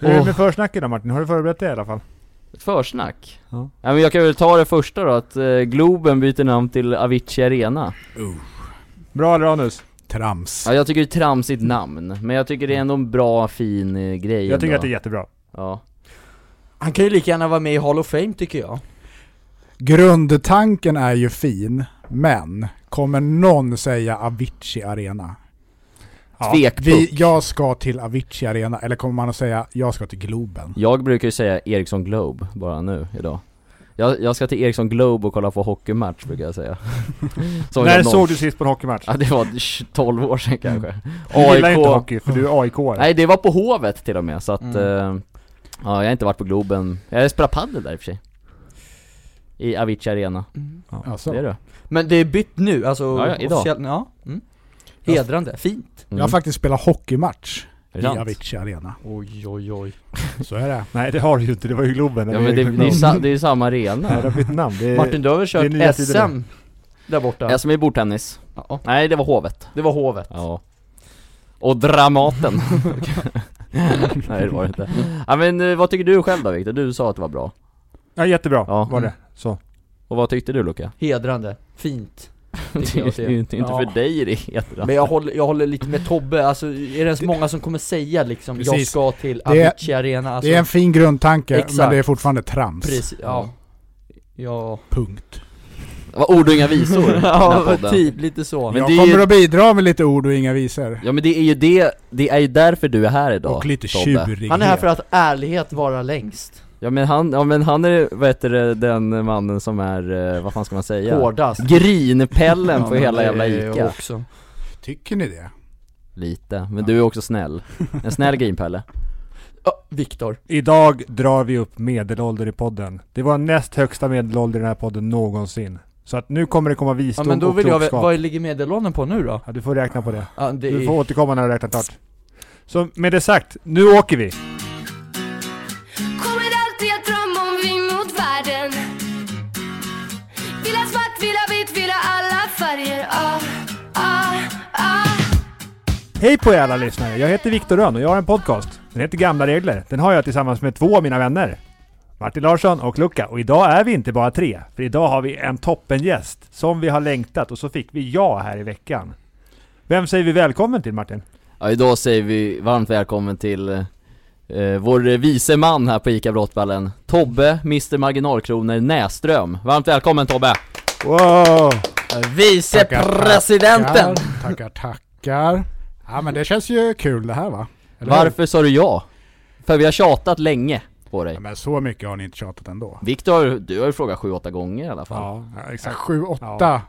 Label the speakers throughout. Speaker 1: Hur är det
Speaker 2: Åh.
Speaker 1: med försnacket då Martin? Har du förberett det i alla fall?
Speaker 2: Ett försnack?
Speaker 1: Ja.
Speaker 2: Ja. men jag kan väl ta det första då, att eh, Globen byter namn till Avicii Arena
Speaker 1: Bra eller anus?
Speaker 3: Trams.
Speaker 2: Ja jag tycker det är ett tramsigt namn, men jag tycker det är ändå en bra fin eh, grej
Speaker 1: Jag tycker
Speaker 2: ändå.
Speaker 1: att det är jättebra.
Speaker 2: Ja,
Speaker 4: Han kan ju lika gärna vara med i Hall of Fame tycker jag.
Speaker 3: Grundtanken är ju fin, men kommer någon säga Avicii Arena?
Speaker 1: Ja,
Speaker 2: tvekpuck
Speaker 3: Vi, jag ska till Avicii Arena, eller kommer man att säga jag ska till Globen?
Speaker 2: Jag brukar ju säga Ericsson Globe, bara nu, idag jag, jag ska till Ericsson Globe och kolla på hockeymatch brukar jag säga Som
Speaker 1: När
Speaker 2: jag någon-
Speaker 1: såg du sist på en hockeymatch?
Speaker 2: Ja det var sh- 12 år sedan kanske
Speaker 1: Du gillar inte hockey, för du är aik
Speaker 2: Nej det var på Hovet till och med, så att
Speaker 4: Mm.
Speaker 2: eh, Ja jag har inte varit på Globen, jag spelar padel där i och för sig I Avicii Arena,
Speaker 3: Alltså,
Speaker 2: det är du
Speaker 4: Men det är bytt nu, alltså
Speaker 2: Ja, ja, idag.
Speaker 4: officiellt- ja. Mm. Hedrande, fint.
Speaker 3: Jag har faktiskt spelat hockeymatch
Speaker 2: Mm. Är det
Speaker 3: i
Speaker 2: sant? Alltså,
Speaker 3: Avicii Arena.
Speaker 4: Oj oj oj.
Speaker 3: Så är det.
Speaker 1: Nej det har du ju inte, det var ju Globen.
Speaker 2: Ja men det, det, är, sa, det är ju samma arena
Speaker 1: Nej, det har bytt namn. Det är...
Speaker 4: Martin, du har väl
Speaker 1: Eh, det är nya
Speaker 4: kört
Speaker 1: tider
Speaker 4: SM där borta?
Speaker 2: SM i bordtennis,
Speaker 4: Ja,
Speaker 2: nej det var Hovet
Speaker 4: det var Hovet.
Speaker 2: Ja Och Dramaten Nej det var det inte ja, men eh, vad tycker du själv då Viktor? Du sa att det var bra
Speaker 1: Ja jättebra
Speaker 2: Ja.
Speaker 1: var det. Så.
Speaker 2: Och vad tyckte du Luca?
Speaker 4: Hedrande, fint.
Speaker 2: Det
Speaker 4: Tycker jag att
Speaker 2: är
Speaker 4: det
Speaker 2: ju inte
Speaker 4: Ja.
Speaker 2: för dig alltså. det heter
Speaker 4: Men jag håller, jag håller lite med Tobbe, alltså är det så många som kommer säga liksom jag
Speaker 3: Precis.
Speaker 4: ska till
Speaker 3: Det är-
Speaker 4: Avicii Arena? Alltså,
Speaker 3: det är en fin grundtanke, men
Speaker 4: Exakt.
Speaker 3: det är fortfarande trams.
Speaker 4: Precis, ja. Ja,
Speaker 3: Punkt.
Speaker 2: Det var ord och inga visor i den här
Speaker 4: ja
Speaker 2: podden.
Speaker 4: typ lite så.
Speaker 2: Men
Speaker 3: jag
Speaker 2: det är
Speaker 3: kommer
Speaker 2: ju-
Speaker 3: att bidra med lite ord och inga visor.
Speaker 2: Ja men det är ju det, det är ju därför du är här idag
Speaker 3: och lite
Speaker 2: Tobbe.
Speaker 3: tjurighet.
Speaker 4: Han är här för att ärlighet vara längst,
Speaker 2: Ja men han, ja men han är, vad heter det, den mannen som är, eh, vad fan ska man säga?
Speaker 4: hårdast.
Speaker 2: Grinpellen
Speaker 4: Ja,
Speaker 2: på
Speaker 4: men
Speaker 2: hela
Speaker 4: det
Speaker 2: jävla
Speaker 4: är jag
Speaker 2: Ica
Speaker 4: Också.
Speaker 3: Tycker ni det?
Speaker 2: Lite, men du är också snäll En snäll grinpelle
Speaker 4: Ja, Viktor.
Speaker 1: Idag drar vi upp medelålder i podden. Det var näst högsta medelålder i den här podden någonsin. Så att nu kommer det komma
Speaker 4: Ja
Speaker 1: visdom
Speaker 4: men då
Speaker 1: och
Speaker 4: vill jag,
Speaker 1: klokskap.
Speaker 4: vä- vad ligger medelåldern på nu då?
Speaker 1: Ja, du får räkna på det.
Speaker 4: Ja, det
Speaker 1: Du
Speaker 4: är...
Speaker 1: får återkomma när du har räknat klart. Så med det sagt, nu åker vi!
Speaker 5: Kommer alltid att drömma om vi mot världen Vill ha svart, vill ha vitt, vill ha alla färger ah, ah, ah.
Speaker 1: Hej på er alla lyssnare! Jag heter Viktor Rönn och jag har en podcast. Den heter Gamla Regler. Den har jag tillsammans med två av mina vänner. Martin Larsson och Luca. Och idag är vi inte bara tre. För idag har vi en toppengäst. Som vi har längtat och så fick vi ja här i veckan. Vem säger vi välkommen till Martin?
Speaker 2: Ja idag säger vi varmt välkommen till eh, vår vice man här på ICA Brottballen Tobbe, Mr Marginalkronor Näström Varmt välkommen Tobbe!
Speaker 1: Wow!
Speaker 2: Vicepresidenten!
Speaker 3: Tackar, tackar, tackar. Ja men det känns ju kul det här va? Eller hur?
Speaker 2: Varför sa du ja? För vi har tjatat länge på dig
Speaker 3: Ja, men så mycket har ni inte tjatat ändå.
Speaker 2: Viktor, du har ju frågat 7-8 gånger i alla fall
Speaker 1: Ja, exakt.
Speaker 3: Sju, åtta.
Speaker 1: Ja.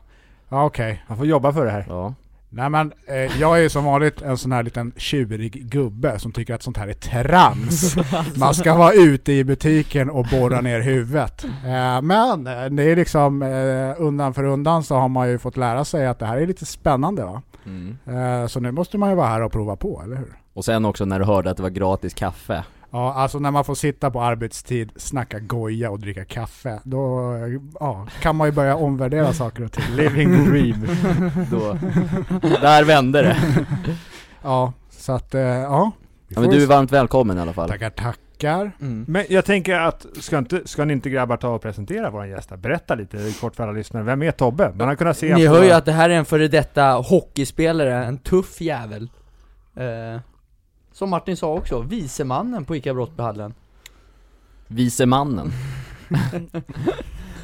Speaker 3: Ja, okej.
Speaker 1: Han får jobba för det här.
Speaker 2: Ja,
Speaker 3: Nej men eh, jag är ju som vanligt en sån här liten tjurig gubbe som tycker att sånt här är trams. Man ska vara ute i butiken och borra ner huvudet. Eh, men eh, det är liksom eh, undan för undan så har man ju fått lära sig att det här är lite spännande va.
Speaker 2: Mm.
Speaker 3: Eh, så nu måste man ju vara här och prova på, eller hur?
Speaker 2: Och sen också när du hörde att det var gratis kaffe
Speaker 3: Ja, alltså när man får sitta på arbetstid, snacka goja och dricka kaffe, då ja, kan man ju börja omvärdera saker och ting.
Speaker 1: Living dream.
Speaker 2: Då, där vände det
Speaker 3: Ja, så att eh, ja. Vi
Speaker 2: ja, Men
Speaker 3: får
Speaker 2: du är
Speaker 3: ju-
Speaker 2: varmt välkommen i alla fall
Speaker 3: Tackar, tackar.
Speaker 4: Mm.
Speaker 1: Men jag tänker att, ska, inte, ska ni inte grabbar ta och presentera våran gäst här? Berätta lite kort för alla lyssnare. Vem är Tobbe? Man har kunnat se
Speaker 4: Ni
Speaker 1: på-
Speaker 4: hör ju att det här är en före detta hockeyspelare, en tuff jävel. Eh, som Martin sa också, vicemannen på ICA Brottbyhallen.
Speaker 2: Vice mannen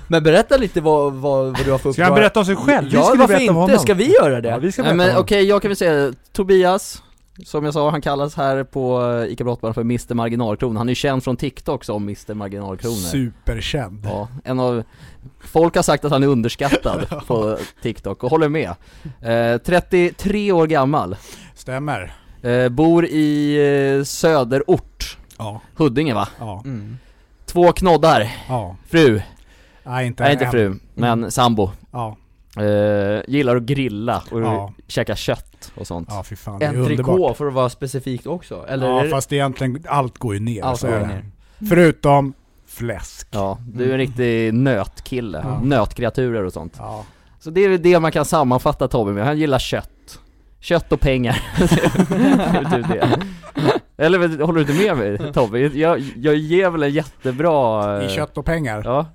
Speaker 4: Men berätta lite vad, vad, vad du har för
Speaker 1: Ska han berätta om sig själv? Vi
Speaker 4: Ja,
Speaker 1: skulle
Speaker 4: varför
Speaker 1: berätta om
Speaker 4: inte?
Speaker 1: honom.
Speaker 4: Ska vi göra det?
Speaker 1: Ja, vi ska
Speaker 2: Nej
Speaker 1: berätta
Speaker 2: men
Speaker 1: om
Speaker 2: okej,
Speaker 1: honom.
Speaker 2: jag kan väl säga Tobias Som jag sa, han kallas här på eh, ICA Brottbaren för Mr Marginalkronor Han är ju känd från TikTok som Mr Marginalkronor
Speaker 3: Superkänd.
Speaker 2: Ja, en av... Folk har sagt att han är underskattad på TikTok och håller med eh, 33 år gammal
Speaker 3: Stämmer.
Speaker 2: eh, Bor i eh, söderort
Speaker 3: Ja.
Speaker 2: Huddinge va?
Speaker 3: Ja.
Speaker 4: Mm.
Speaker 2: Två knoddar,
Speaker 3: ja.
Speaker 2: fru,
Speaker 3: Nej, inte
Speaker 2: nej inte
Speaker 3: än.
Speaker 2: fru, men sambo
Speaker 3: Ja.
Speaker 2: eh, Gillar att grilla och
Speaker 3: Ja.
Speaker 2: käka kött och sånt
Speaker 3: ja, fy fan. Det är
Speaker 4: En
Speaker 3: underbart.
Speaker 4: trikå för att vara specifikt också, eller? är
Speaker 3: Ja,
Speaker 4: det-
Speaker 3: fast egentligen allt går ju ner.
Speaker 4: Allt
Speaker 3: så
Speaker 4: går
Speaker 3: är
Speaker 4: ju
Speaker 3: det.
Speaker 4: ner.
Speaker 3: Förutom fläsk.
Speaker 2: Ja, du är en riktig nötkille,
Speaker 3: Mm. Ja.
Speaker 2: nötkreaturer och sånt
Speaker 3: Ja.
Speaker 2: Så det är väl det man kan sammanfatta Tobbe med, han gillar kött Kött och pengar. det är typ det. Eller vad- håller du inte med mig Tobbe? Jag, jag ger väl en jättebra... eh,
Speaker 3: I kött och pengar.
Speaker 2: Ja,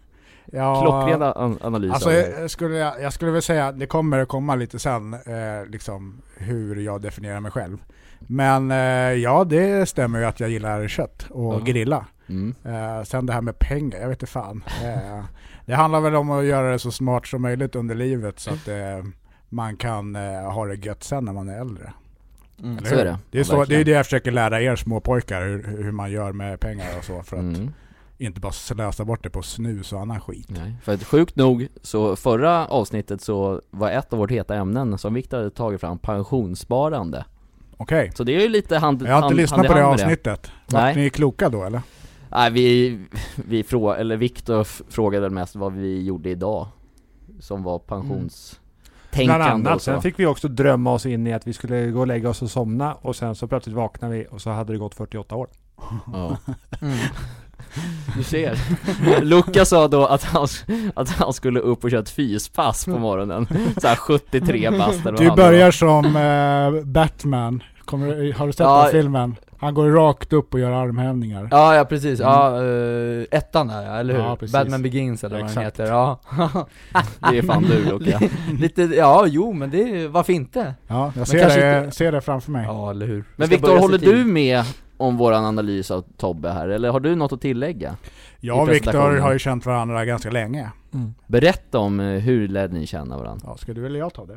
Speaker 3: Ja,
Speaker 2: klockren an- analys
Speaker 3: Alltså,
Speaker 2: av det.
Speaker 3: jag, skulle, jag, jag skulle väl säga att det kommer att komma lite sen, eh, liksom hur jag definierar mig själv. Men eh, ja, det stämmer ju att jag gillar kött och
Speaker 2: Ja.
Speaker 3: grilla.
Speaker 2: Mm.
Speaker 3: Eh, sen det här med pengar, jag vet inte fan. Eh, det handlar väl om att göra det så smart som möjligt under livet så att eh, man kan eh, ha det gött sen när man är äldre.
Speaker 4: Mm.
Speaker 3: Eller
Speaker 2: Så
Speaker 3: hur?
Speaker 2: är det.
Speaker 3: Det är, så, det, är
Speaker 2: Verkligen.
Speaker 3: det jag försöker lära er småpojkar, hur, hur man gör med pengar och så för att
Speaker 2: Mm.
Speaker 3: inte bara slösa bort det på snus och annan skit.
Speaker 2: Nej, för att sjukt nog så förra avsnittet så var ett av vårt heta ämnen som Viktor hade tagit fram pensionssparande.
Speaker 3: Okej.
Speaker 2: Så det är ju lite hand
Speaker 3: Jag har inte
Speaker 2: hand-
Speaker 3: lyssnat
Speaker 2: hand i
Speaker 3: på det
Speaker 2: hand med
Speaker 3: avsnittet. Vart
Speaker 2: Nej.
Speaker 3: ni kloka då eller?
Speaker 2: Nej, vi, vi frå, eller Viktor f- frågade väl mest vad vi gjorde idag som var pensionstänkande
Speaker 1: Mm. Bland
Speaker 2: och
Speaker 1: annat.
Speaker 2: så.
Speaker 1: Sen fick vi också drömma oss in i att vi skulle gå och lägga oss och somna och sen så plötsligt vaknade vi och så hade det gått 48 år.
Speaker 2: Ja.
Speaker 4: Mm.
Speaker 2: Du ser. Luca sa då att han, att han skulle upp och köra ett fyspass på morgonen. Så här 73 bast eller vad
Speaker 3: Du
Speaker 2: han var.
Speaker 3: börjar som eh, Batman. Kommer, har du sett
Speaker 2: Ja.
Speaker 3: den filmen? Han går rakt upp och gör armhävningar.
Speaker 4: Ja, ja precis. Ja,
Speaker 1: Mm.
Speaker 4: eh, ettan där ja, eller hur?
Speaker 3: Ja, precis.
Speaker 4: Batman Begins eller vad den
Speaker 3: Exakt.
Speaker 4: heter. Ja.
Speaker 2: Det är fan du Luca.
Speaker 4: Lite, ja jo men det, varför inte?
Speaker 3: Ja, jag ser
Speaker 4: kanske
Speaker 3: det,
Speaker 4: inte-
Speaker 3: ser det framför mig.
Speaker 4: Ja eller hur?
Speaker 2: Men Viktor, håller du med om våran analys av Tobbe här? Eller har du något att tillägga?
Speaker 3: Jag och
Speaker 2: I presentationen.
Speaker 3: Viktor har ju känt varandra ganska länge.
Speaker 2: Berätta om eh, hur lärde ni känna varandra?
Speaker 3: Ja, ska du eller jag ta det?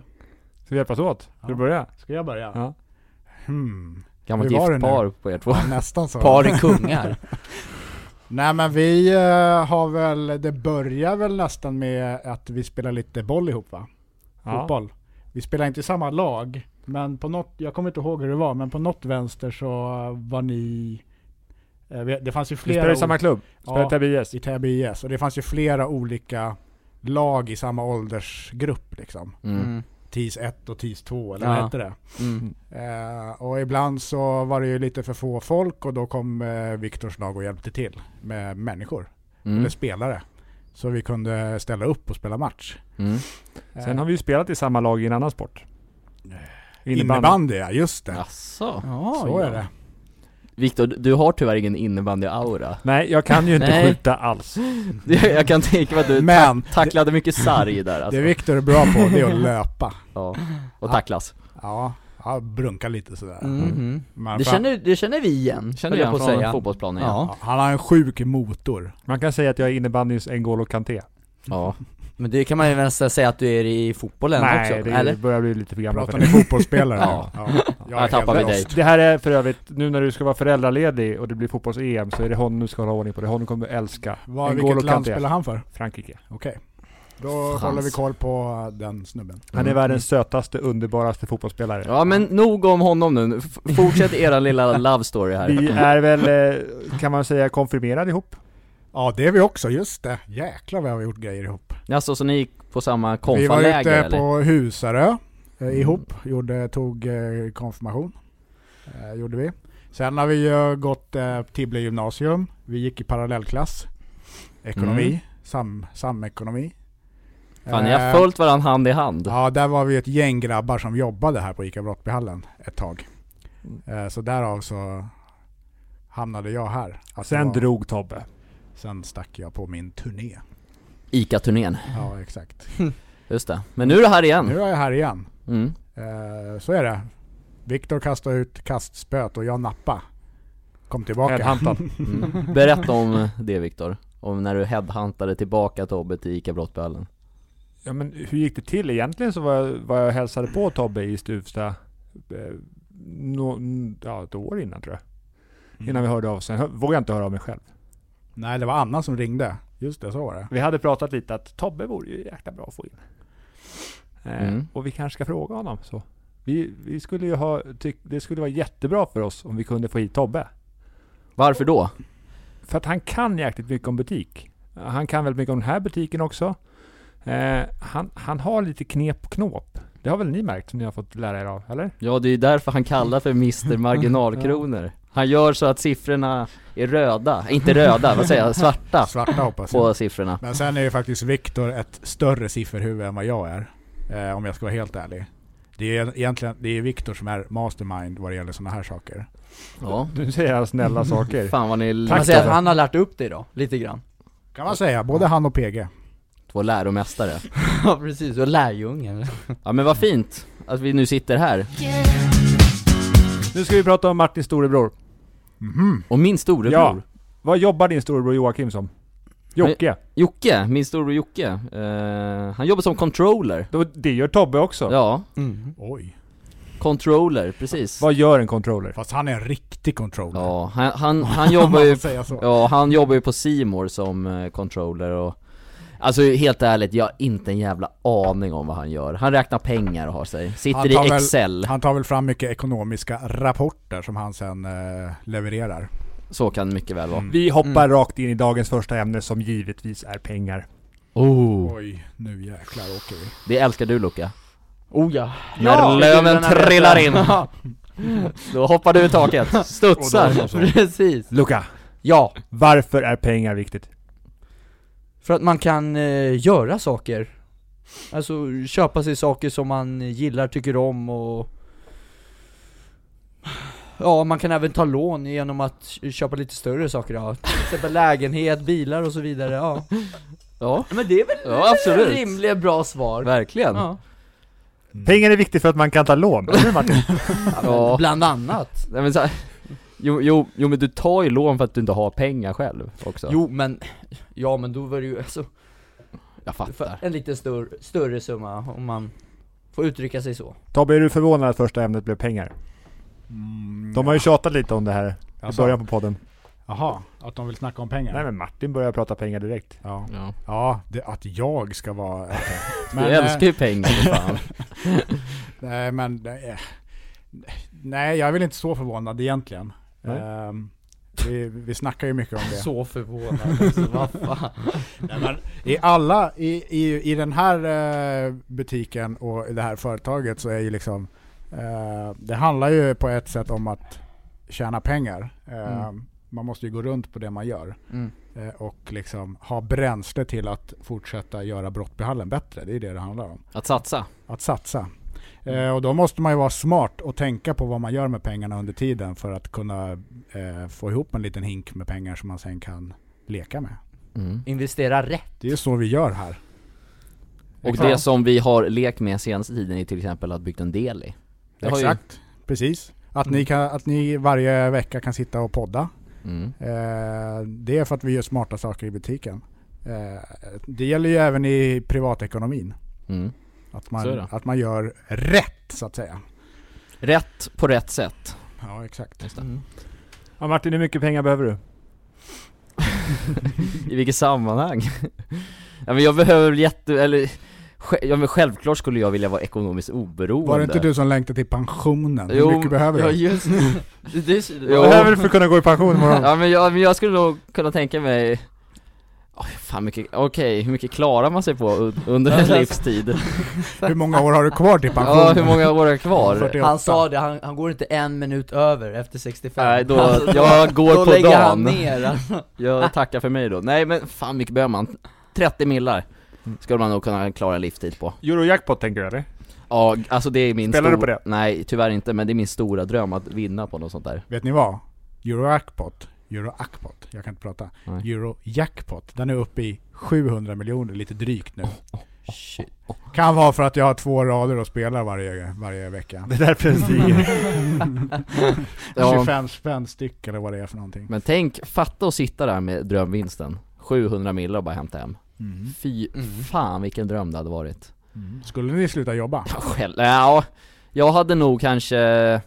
Speaker 1: Ska vi hjälpas åt? Ska du
Speaker 3: Ja.
Speaker 1: börja?
Speaker 3: Ska jag börja?
Speaker 1: Ja.
Speaker 3: Hmm.
Speaker 2: Gammalt
Speaker 3: Hur var
Speaker 2: gift
Speaker 3: det nu?
Speaker 2: par på er två.
Speaker 3: Nästan så.
Speaker 4: Par i kungar.
Speaker 3: Nej men vi eh, har väl, det börjar väl nästan med att vi spelar lite boll ihop va?
Speaker 1: Ja.
Speaker 3: fotboll. Vi spelar inte i samma lag, men på något, jag kommer inte ihåg hur det var, men på något vänster så var ni... eh, vi- Det fanns ju
Speaker 1: Vi
Speaker 3: flera...
Speaker 1: spelar i
Speaker 3: ol-
Speaker 1: samma klubb. Spelar
Speaker 3: ja,
Speaker 1: Täby IS.
Speaker 3: i Täby IS. Och det fanns ju flera olika lag i samma åldersgrupp liksom.
Speaker 2: Mm.
Speaker 4: Mm.
Speaker 3: TIS 1 och TIS 2 eller
Speaker 4: Ja.
Speaker 3: vad hette det?
Speaker 4: Mm.
Speaker 3: Eh, och ibland så var det ju lite för få folk och då kom eh, Viktors lag och hjälpte till med människor,
Speaker 2: Mm.
Speaker 3: eller spelare. Så vi kunde ställa upp och spela match.
Speaker 2: Mm.
Speaker 1: Sen har vi ju spelat i samma lag i en annan sport.
Speaker 3: Innebandy,
Speaker 1: Innebandy.
Speaker 3: ja, just det.
Speaker 2: Jaså?
Speaker 4: Ja,
Speaker 3: så
Speaker 4: ja.
Speaker 3: är det.
Speaker 2: Viktor, du- du har tyvärr ingen innebandy-aura.
Speaker 1: Nej, jag kan ju inte
Speaker 2: Nej.
Speaker 1: skjuta alls.
Speaker 2: Jag kan tänka mig att du
Speaker 3: Men
Speaker 2: ta- tacklade mycket sarg där
Speaker 3: Det
Speaker 2: alltså.
Speaker 3: Viktor är bra på, det är att löpa.
Speaker 2: ja. Och tacklas.
Speaker 3: Ja, ja brunka lite sådär.
Speaker 2: Mm.
Speaker 4: Mhm.
Speaker 3: Men
Speaker 4: Det,
Speaker 3: fan,
Speaker 4: känner, det känner vi igen,
Speaker 2: Känner
Speaker 4: höll jag
Speaker 2: igen
Speaker 4: på att
Speaker 2: från
Speaker 4: säga.
Speaker 2: fotbollsplanen igen.
Speaker 4: Ja,
Speaker 3: ja, han har en sjuk motor.
Speaker 1: Man kan säga att jag är innebandyns N'Golo Kanté.
Speaker 2: Ja.
Speaker 4: men det kan man ju nästan säga att du är i fotbollen
Speaker 1: Nej,
Speaker 4: också,
Speaker 1: det
Speaker 4: eller?
Speaker 1: börjar bli lite för gammal för
Speaker 3: Pratar
Speaker 1: det.
Speaker 3: ni fotbollsspelare?
Speaker 2: Ja.
Speaker 3: jag är
Speaker 2: Jag tappar
Speaker 3: helt
Speaker 2: mig
Speaker 3: lost.
Speaker 1: Det här är för övrigt, nu när du ska vara föräldraledig och det blir fotbolls-EM så är det honom du ska hålla ordning på. Det är honom du kommer älska.
Speaker 3: Vad,
Speaker 1: N'Golo
Speaker 3: vilket land
Speaker 1: Kanté.
Speaker 3: spelar han för?
Speaker 1: Frankrike.
Speaker 3: Okej. Då
Speaker 2: Frans.
Speaker 3: håller vi koll på den snubben.
Speaker 1: Han är världens sötaste, underbaraste fotbollsspelare.
Speaker 2: ja men nog om honom nu, F- fortsätt era lilla love story här.
Speaker 1: Vi är väl, eh, kan man säga, konfirmerade ihop.
Speaker 3: Ja, det är vi också, just det. Jäklar vad vi har gjort grejer ihop.
Speaker 2: Alltså så ni gick på samma
Speaker 3: Vi var ute
Speaker 2: konfaläger eller? Mm.
Speaker 3: på Husarö eh, ihop, gjorde, tog eh, konfirmation. Eh, gjorde vi. Sen har vi ju gått eh, Tibble gymnasium. Vi gick i parallellklass. Ekonomi,
Speaker 2: Mm.
Speaker 3: sam, samekonomi.
Speaker 2: Fan ni har
Speaker 3: Eh,
Speaker 2: följt varandra hand i hand.
Speaker 3: Ja, där var vi ett gäng grabbar som jobbade här på ICA Brottbyhallen ett tag. Eh, så därav så hamnade jag här. Att det
Speaker 1: Sen
Speaker 3: var,
Speaker 1: drog Tobbe.
Speaker 3: sen stack jag på min turné.
Speaker 2: ICA-turnén,
Speaker 3: Ja, exakt.
Speaker 2: just det. Men nu är det här igen.
Speaker 3: Nu är jag här igen.
Speaker 2: Mm.
Speaker 3: Eh, så är det. Viktor kastade ut kastspöet och jag nappa. Kom tillbaka.
Speaker 1: Headhuntad.
Speaker 2: Mm. Berätta om det Viktor, om när du headhuntade tillbaka Tobbe till ICA Brottböllen.
Speaker 1: Ja men hur gick det till? Egentligen så var jag, var jag och hälsade på Tobbe i Stuvsta eh, nå- n- ja, ett år innan tror jag. Innan vi hörde av oss. Sen hö- vågade jag inte höra av mig själv.
Speaker 3: Nej, det var Anna som ringde. Just det, så var det.
Speaker 1: Vi hade pratat lite att Tobbe vore ju jäkla bra att få in. Eh,
Speaker 2: Mm.
Speaker 1: Och vi kanske ska fråga honom så. Vi, vi skulle ju ha tyck, det skulle vara jättebra för oss om vi kunde få hit Tobbe.
Speaker 2: Varför då?
Speaker 1: För att han kan jäkligt mycket om butik. Han kan väldigt mycket om den här butiken också. Eh, han, han har lite knep och knåp. Det har väl ni märkt som ni har fått lära er av, eller?
Speaker 2: Ja det är därför han kallar för Mr Marginalkronor. Han gör så att siffrorna är röda, inte röda, vad säger jag, svarta
Speaker 3: Svarta hoppas jag.
Speaker 2: på siffrorna.
Speaker 3: Men sen är ju faktiskt Viktor ett större sifferhuvud än vad jag är. Eh, om jag ska vara helt ärlig. Det är egentligen det är Viktor som är mastermind vad det gäller sådana här saker.
Speaker 2: Ja,
Speaker 1: Du säger alla snälla saker.
Speaker 2: fan vad ni är
Speaker 1: Tack
Speaker 4: Man säger att
Speaker 1: Tobbe.
Speaker 4: han har lärt upp dig då, lite grann.
Speaker 3: Kan man säga, både han och PG.
Speaker 2: två läromästare
Speaker 4: Ja precis, och lärjungen.
Speaker 2: Ja men vad fint att vi nu sitter här
Speaker 1: Nu ska vi prata om Martins storebror.
Speaker 3: Mhm.
Speaker 2: Och min storebror
Speaker 1: Vad jobbar din storebror Joakim som? Jocke.
Speaker 2: Jocke, min storebror Jocke, eh, han jobbar som controller
Speaker 1: Då- Det gör Tobbe också.
Speaker 2: Ja,
Speaker 4: Mm.
Speaker 3: Oj.
Speaker 2: controller, precis
Speaker 1: Vad gör en controller?
Speaker 3: Fast han är en riktig controller.
Speaker 2: Ja, han, han, han
Speaker 3: Om
Speaker 2: jobbar
Speaker 3: man
Speaker 2: ju,
Speaker 3: får säga så.
Speaker 2: ja han jobbar ju på Simor som eh, controller och Alltså helt ärligt, jag har inte en jävla aning om vad han gör Han räknar pengar och har sig,
Speaker 3: Han
Speaker 2: sitter
Speaker 3: tar
Speaker 2: i
Speaker 3: väl-
Speaker 2: Excel,
Speaker 3: Han tar väl fram mycket ekonomiska rapporter som han sen eh, levererar.
Speaker 2: så kan det mycket väl vara
Speaker 3: Mm.
Speaker 1: Vi hoppar
Speaker 4: Mm.
Speaker 1: rakt in i dagens första ämne som givetvis är pengar.
Speaker 2: oh.
Speaker 3: Oj, nu jäklar åker vi.
Speaker 2: Det älskar du Luca
Speaker 4: Oh ja.
Speaker 2: När löven trillar in. Då hoppar du i taket,
Speaker 1: Och då
Speaker 2: studsar!
Speaker 1: så.
Speaker 4: precis.
Speaker 1: Luca,
Speaker 4: Ja,
Speaker 1: varför är pengar viktigt?
Speaker 4: för att man kan eh, göra saker. Alltså köpa sig saker som man gillar, tycker om och Ja, man kan även ta lån genom att köpa lite större saker ja. Till exempel lägenhet, bilar och så vidare, ja.
Speaker 2: Ja,
Speaker 4: Men det är väl
Speaker 2: Ja, det är absolut. väl
Speaker 4: rimliga bra svar?
Speaker 2: verkligen!
Speaker 4: Ja.
Speaker 1: Pengar är viktigt för att man kan ta lån. Eller hur, Martin?
Speaker 2: Ja.
Speaker 4: Bland annat.
Speaker 2: Nej, men så här, jo, jo, jo men du tar ju lån för att du inte har pengar själv också
Speaker 4: Jo men, ja men då var det ju alltså,
Speaker 2: Jag
Speaker 4: för
Speaker 2: fattar
Speaker 4: en lite större, större summa om man får uttrycka sig så.
Speaker 1: Tobbe, är du förvånad att första ämnet blev pengar?
Speaker 3: Mm,
Speaker 1: De har ju tjatat lite om det här i
Speaker 3: alltså,
Speaker 1: början på podden.
Speaker 3: Jaha, att de vill snacka om pengar?
Speaker 1: Nej men Martin börjar prata pengar direkt.
Speaker 3: Ja,
Speaker 2: ja.
Speaker 3: ja det, att jag ska vara... okej.
Speaker 2: Du älskar ju pengar för fan
Speaker 3: eh, Nej men... eh, Nej, jag är väl inte så förvånad egentligen.
Speaker 1: Nej.
Speaker 3: Ehm, vi, vi snackar ju mycket om det.
Speaker 4: Så förvånad alltså, vad fan.
Speaker 3: Nej, men I alla, i, i, i den här eh, butiken och i det här företaget så är ju liksom eh, Det handlar ju på ett sätt om att tjäna pengar. Eh, Man måste ju gå runt på det man gör.
Speaker 4: Mm.
Speaker 3: Eh, och liksom ha bränsle till att fortsätta göra Brottbyhallen bättre. Det är det det handlar om.
Speaker 2: Att satsa
Speaker 3: Att satsa. Eh, och då måste man ju vara smart och tänka på vad man gör med pengarna under tiden för att kunna eh, få ihop en liten hink med pengar som man sen kan leka med.
Speaker 2: mm.
Speaker 4: Investera rätt.
Speaker 3: Det är så vi gör här.
Speaker 2: Och
Speaker 3: Exakt.
Speaker 2: det som vi har lekt med senaste tiden är till exempel att bygga en del i Det har ju-
Speaker 3: Exakt, precis. Att, ni kan, att ni varje vecka kan sitta och podda.
Speaker 2: mm.
Speaker 3: Eh, det är för att vi gör smarta saker i butiken. Eh, det gäller ju även i privatekonomin.
Speaker 2: Mm.
Speaker 3: Att
Speaker 2: Så är
Speaker 3: man,
Speaker 2: det.
Speaker 3: att man gör rätt så att säga.
Speaker 2: Rätt på rätt sätt
Speaker 3: Ja exakt.
Speaker 1: Ja, Martin, hur mycket pengar behöver du?
Speaker 2: I vilket sammanhang? ja men jag behöver väl jätte, eller sj- Ja men självklart skulle jag vilja vara ekonomiskt oberoende
Speaker 3: Var det inte du som längtade till pensionen? Hur mycket behöver
Speaker 2: ja,
Speaker 3: du?
Speaker 2: just det. det är-
Speaker 1: Vad behöver du för att kunna gå i pension imorgon?
Speaker 2: Ja men jag, men jag skulle nog kunna tänka mig Oj, fan mycket, okej, hur mycket klarar man sig på un- under en livstid?
Speaker 3: Hur många år har du kvar till pensionen?
Speaker 2: Ja, hur många år är kvar?
Speaker 3: 48.
Speaker 4: Han sa det, han, han går inte en minut över efter 65.
Speaker 2: Nej då,
Speaker 4: Alltså,
Speaker 2: jag går
Speaker 4: då
Speaker 2: på
Speaker 4: lägger han
Speaker 2: dagen
Speaker 4: ner. alltså.
Speaker 1: Ah.
Speaker 2: Jag tackar för mig då, nej men fan mycket behöver man? 30 millar
Speaker 1: Mm.
Speaker 2: Skulle man nog kunna klara en livstid på
Speaker 1: Eurojackpot tänker du eller?
Speaker 2: Ja, alltså det är min
Speaker 1: Spelar du på
Speaker 2: stor-
Speaker 1: det?
Speaker 2: Nej, tyvärr inte, men det är min stora dröm att vinna på något sånt där
Speaker 3: Vet ni vad? Eurojackpot. Eurojackpot. Jag kan inte prata.
Speaker 2: Nej.
Speaker 3: Eurojackpot. Den är uppe i 700 miljoner, lite drygt nu.
Speaker 4: Shit.
Speaker 3: Kan vara för att jag har två rader att spela varje, varje vecka.
Speaker 1: Det är därför jag säger.
Speaker 2: Ja,
Speaker 3: 25 spänn styck eller vad det är för någonting.
Speaker 2: men tänk, fatta att sitta där med drömvinsten 700 millar och bara hämta hem Fy
Speaker 4: Mm.
Speaker 2: fan vilken dröm det hade varit
Speaker 3: Mhm. Skulle ni sluta jobba?
Speaker 2: Ja, Själv, ja, jag hade nog kanske...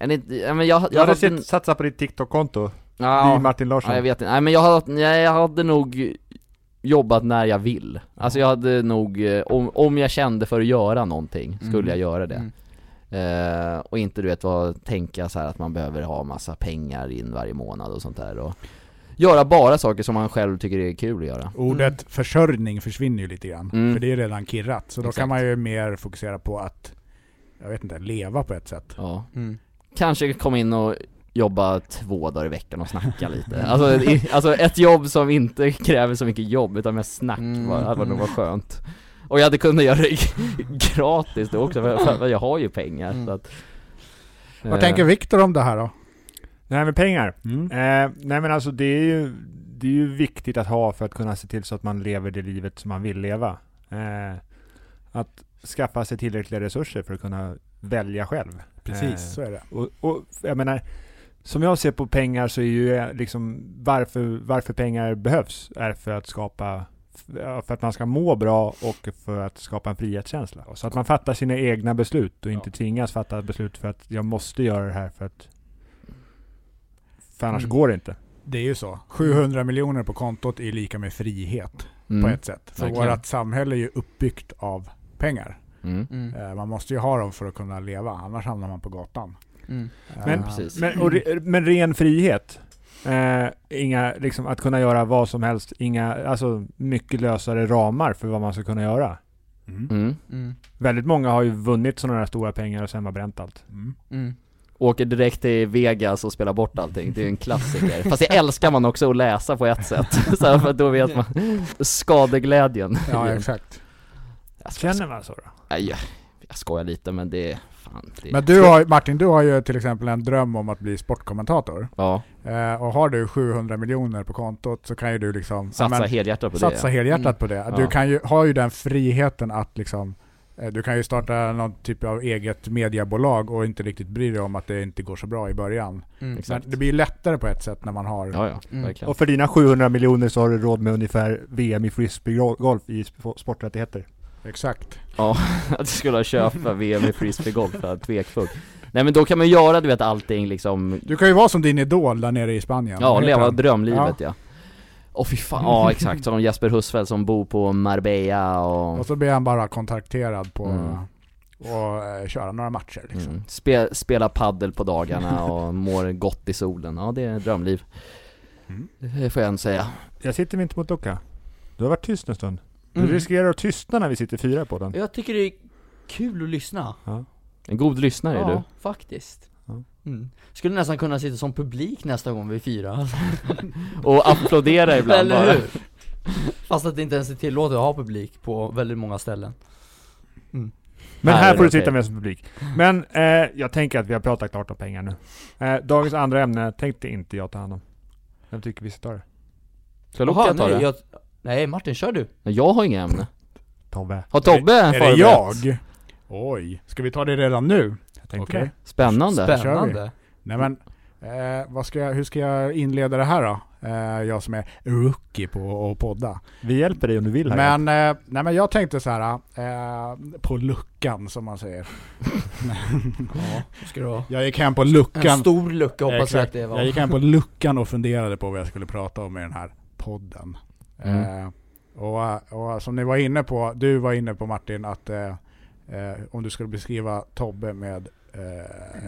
Speaker 2: eller inte- ja, men jag, jag,
Speaker 1: Jag hade
Speaker 2: hade...
Speaker 1: sett, satsat på ditt TikTok-konto. Det är
Speaker 2: ja,
Speaker 1: Martin Larsson.
Speaker 2: ja, jag vet inte, nej men jag hade, nej, jag hade nog jobbat när jag vill Alltså jag hade nog, eh, om, om jag kände för att göra någonting, skulle
Speaker 3: Mm.
Speaker 2: jag göra det
Speaker 4: Mm.
Speaker 2: Eh, och inte du vet vad, tänka så här att man behöver ha massa pengar in varje månad och sånt där och Göra bara saker som man själv tycker är kul att göra
Speaker 3: Ordet försörjning försvinner ju lite grann.
Speaker 2: Mm.
Speaker 3: För det är redan kirrat. Så då
Speaker 2: Exakt.
Speaker 3: kan man ju mer fokusera på att, jag vet inte, leva på ett sätt.
Speaker 2: Ja,
Speaker 4: Mm.
Speaker 2: kanske komma in och jobba två dagar i veckan och snacka lite alltså, i, alltså ett jobb som inte kräver så mycket jobb utan mest snack
Speaker 4: Mm.
Speaker 2: bara, hade nog varit skönt Och jag hade kunnat göra det gratis då också, för, för jag har ju pengar så att, Eh.
Speaker 3: Vad Mm. tänker Viktor om det här då?
Speaker 1: Nej men pengar.
Speaker 3: Mm.
Speaker 1: Eh, nej men alltså det är, ju, det är ju viktigt att ha för att kunna se till så att man lever det livet som man vill leva. Eh, att skaffa sig tillräckliga resurser för att kunna välja själv.
Speaker 3: Precis,
Speaker 1: Eh,
Speaker 3: så är det.
Speaker 1: Och, och jag menar, som jag ser på pengar så är ju eh, liksom varför, varför pengar behövs är för att skapa ja, för att man ska må bra och för att skapa en frihetskänsla. Så att man fattar sina egna beslut och inte tvingas fatta beslut för att jag måste göra det här för att för annars
Speaker 3: Mm.
Speaker 1: går det inte.
Speaker 3: Det är ju så. 700 miljoner på kontot är lika med frihet
Speaker 2: mm,
Speaker 3: på ett sätt. För
Speaker 2: verkligen.
Speaker 3: vårt samhälle är ju uppbyggt av pengar.
Speaker 2: mm,
Speaker 4: Mm.
Speaker 3: Eh, Man måste ju ha dem för att kunna leva, annars hamnar man på gatan.
Speaker 4: Mm.
Speaker 3: Eh,
Speaker 1: Men-
Speaker 2: precis.
Speaker 1: Men, och re, men ren frihet. Eh, inga, liksom, att kunna göra vad som helst. Inga, alltså mycket lösare ramar för vad man ska kunna göra.
Speaker 3: Mm.
Speaker 2: mm.
Speaker 4: Mm.
Speaker 1: Väldigt många har ju vunnit sådana här stora pengar och sen bara bränt allt.
Speaker 3: Mm.
Speaker 4: Mm.
Speaker 2: Åker direkt till Vegas och spelar bort allting, det är ju en klassiker. Fast det älskar man också att läsa på ett sätt, så här, för då vet man skadeglädjen.
Speaker 3: Ja, exakt.
Speaker 2: Jag skojar,
Speaker 1: Känner man så då?
Speaker 2: Nej, jag, jag skojar lite men det är fan det,
Speaker 3: Men du har, Martin, du har ju till exempel en dröm om att bli sportkommentator.
Speaker 2: Ja,
Speaker 3: Eh, Och har du 700 miljoner på kontot så kan ju du liksom ja,
Speaker 2: satsa
Speaker 3: men-
Speaker 2: helhjärtat på
Speaker 3: satsa
Speaker 2: det.
Speaker 3: helhjärtat
Speaker 4: Mm.
Speaker 3: på det.
Speaker 2: Ja.
Speaker 3: Du kan ju, har ju den friheten att liksom eh, du kan ju starta någon typ av eget mediebolag och inte riktigt bry dig om att det inte går så bra i början.
Speaker 4: Mm.
Speaker 2: Exakt.
Speaker 3: Men det blir ju lättare på ett sätt när man har...
Speaker 2: Ja, ja,
Speaker 4: Mm.
Speaker 2: verkligen.
Speaker 1: Och för dina 700 miljoner så har du råd med ungefär VM i frisbeegolf i sp- sporträttigheter.
Speaker 3: Exakt.
Speaker 2: Att jag skulle köpa VM i frisbeegolf, jag är tvekfull. Nej men då kan man ju göra du vet allting liksom,
Speaker 3: Du kan ju vara som din idol där nere i Spanien.
Speaker 2: ja
Speaker 3: Vad heter
Speaker 2: leva
Speaker 3: han?
Speaker 2: drömlivet ja. Åh fy fan, ja exakt, som Jesper Husfeldt som bor på Marbella och
Speaker 3: Och så blir han bara kontakterad på
Speaker 2: Mm.
Speaker 3: och eh, köra några matcher. Liksom.
Speaker 2: mm, spe, spela paddel på dagarna och mår gott i solen, ja det är drömliv.
Speaker 3: Mm.
Speaker 2: Det får jag ändå säga.
Speaker 1: Jag sitter mitt emot Luca. Du har varit tyst en stund. Du
Speaker 4: Mm.
Speaker 1: riskerar att tystna när vi sitter fyra på den.
Speaker 4: Jag tycker det är kul att lyssna.
Speaker 2: En god lyssnare är du.
Speaker 4: faktiskt.
Speaker 1: Ja.
Speaker 4: Mm. Skulle nästan kunna sitta som publik nästa gång vi firar.
Speaker 2: Och applådera ibland
Speaker 4: Eller
Speaker 2: bara.
Speaker 4: hur? Fast att det inte ens är tillåtet att ha publik på väldigt många ställen.
Speaker 1: Men
Speaker 2: Nej,
Speaker 1: här
Speaker 2: det
Speaker 1: får
Speaker 2: är
Speaker 1: du sitta
Speaker 2: okej.
Speaker 1: med som publik. Men eh, jag tänker att vi har pratat klart om pengar nu. Eh, dagens andra ämne tänkte inte jag ta hand om. Vem tycker vi ska ta det?
Speaker 2: Ska Luka ta
Speaker 4: nej,
Speaker 2: det?
Speaker 4: jag, nej Martin, kör du.
Speaker 2: Nej, Jag har inga ämnen.
Speaker 1: Tobbe.
Speaker 2: Har Tobbe
Speaker 3: Är det
Speaker 2: förberett?
Speaker 3: jag? Oj, ska vi ta det redan nu?
Speaker 1: Jag tänkte
Speaker 3: Okej.
Speaker 1: det.
Speaker 2: Spännande.
Speaker 3: Spä- kör vi.
Speaker 4: Spännande.
Speaker 3: Nej men, eh, vad ska jag, hur ska jag inleda det här då? Eh, jag som är rookie på att podda.
Speaker 1: Vi hjälper dig om du vill här.
Speaker 3: Men, eh, nej, men jag tänkte så här, eh, på luckan som man säger.
Speaker 4: Ja, ska du ha.
Speaker 3: Jag gick hem på
Speaker 4: En
Speaker 3: luckan.
Speaker 4: stor lucka hoppas jag
Speaker 3: Exakt.
Speaker 4: att det
Speaker 3: Jag
Speaker 4: var.
Speaker 3: gick hem på luckan och funderade på vad jag skulle prata om i den här podden.
Speaker 2: Mm.
Speaker 3: Eh, och, och som ni var inne på, du var inne på Martin, att eh, eh, om du skulle beskriva Tobbe med eh,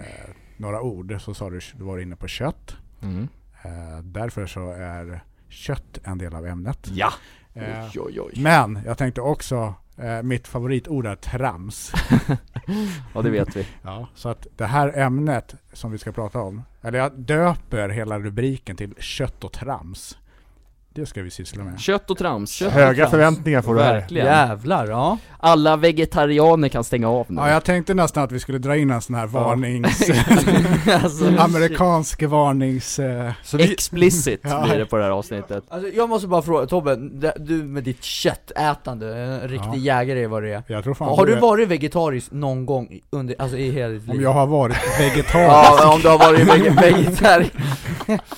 Speaker 3: några ord så sa du, du var inne på kött.
Speaker 2: Mm.
Speaker 3: Eh, därför så är kött en del av ämnet.
Speaker 2: Ja!
Speaker 3: Eh,
Speaker 4: Oj, oj, oj.
Speaker 3: Men jag tänkte också, eh, mitt favoritord är trams.
Speaker 2: Ja det vet vi.
Speaker 3: Ja. Så att det här ämnet som vi ska prata om, eller jag döper hela rubriken till kött och trams. Det ska vi syssla med.
Speaker 2: Kött och trams. Kött.
Speaker 1: Höga
Speaker 4: Frans.
Speaker 1: förväntningar får du här.
Speaker 2: Verkligen.
Speaker 4: Jävlar, ja.
Speaker 2: Alla vegetarianer kan stänga av nu.
Speaker 3: Ja, jag tänkte nästan att vi skulle dra in en sån här varnings...
Speaker 4: alltså,
Speaker 3: amerikansk varnings... Eh,
Speaker 1: Så vi,
Speaker 2: Explicit
Speaker 3: Ja.
Speaker 2: blir det på det här avsnittet.
Speaker 4: Alltså, jag måste bara fråga, Tobbe, d- du med ditt köttätande, en riktig jägare är vad det är.
Speaker 3: jag tror fan
Speaker 4: Har du
Speaker 3: är-
Speaker 4: varit vegetarisk någon gång i- under, alltså i hela ditt
Speaker 3: Om
Speaker 4: liv?
Speaker 3: jag har varit vegetarisk?
Speaker 4: Ja, om du har varit vege- vegetarisk.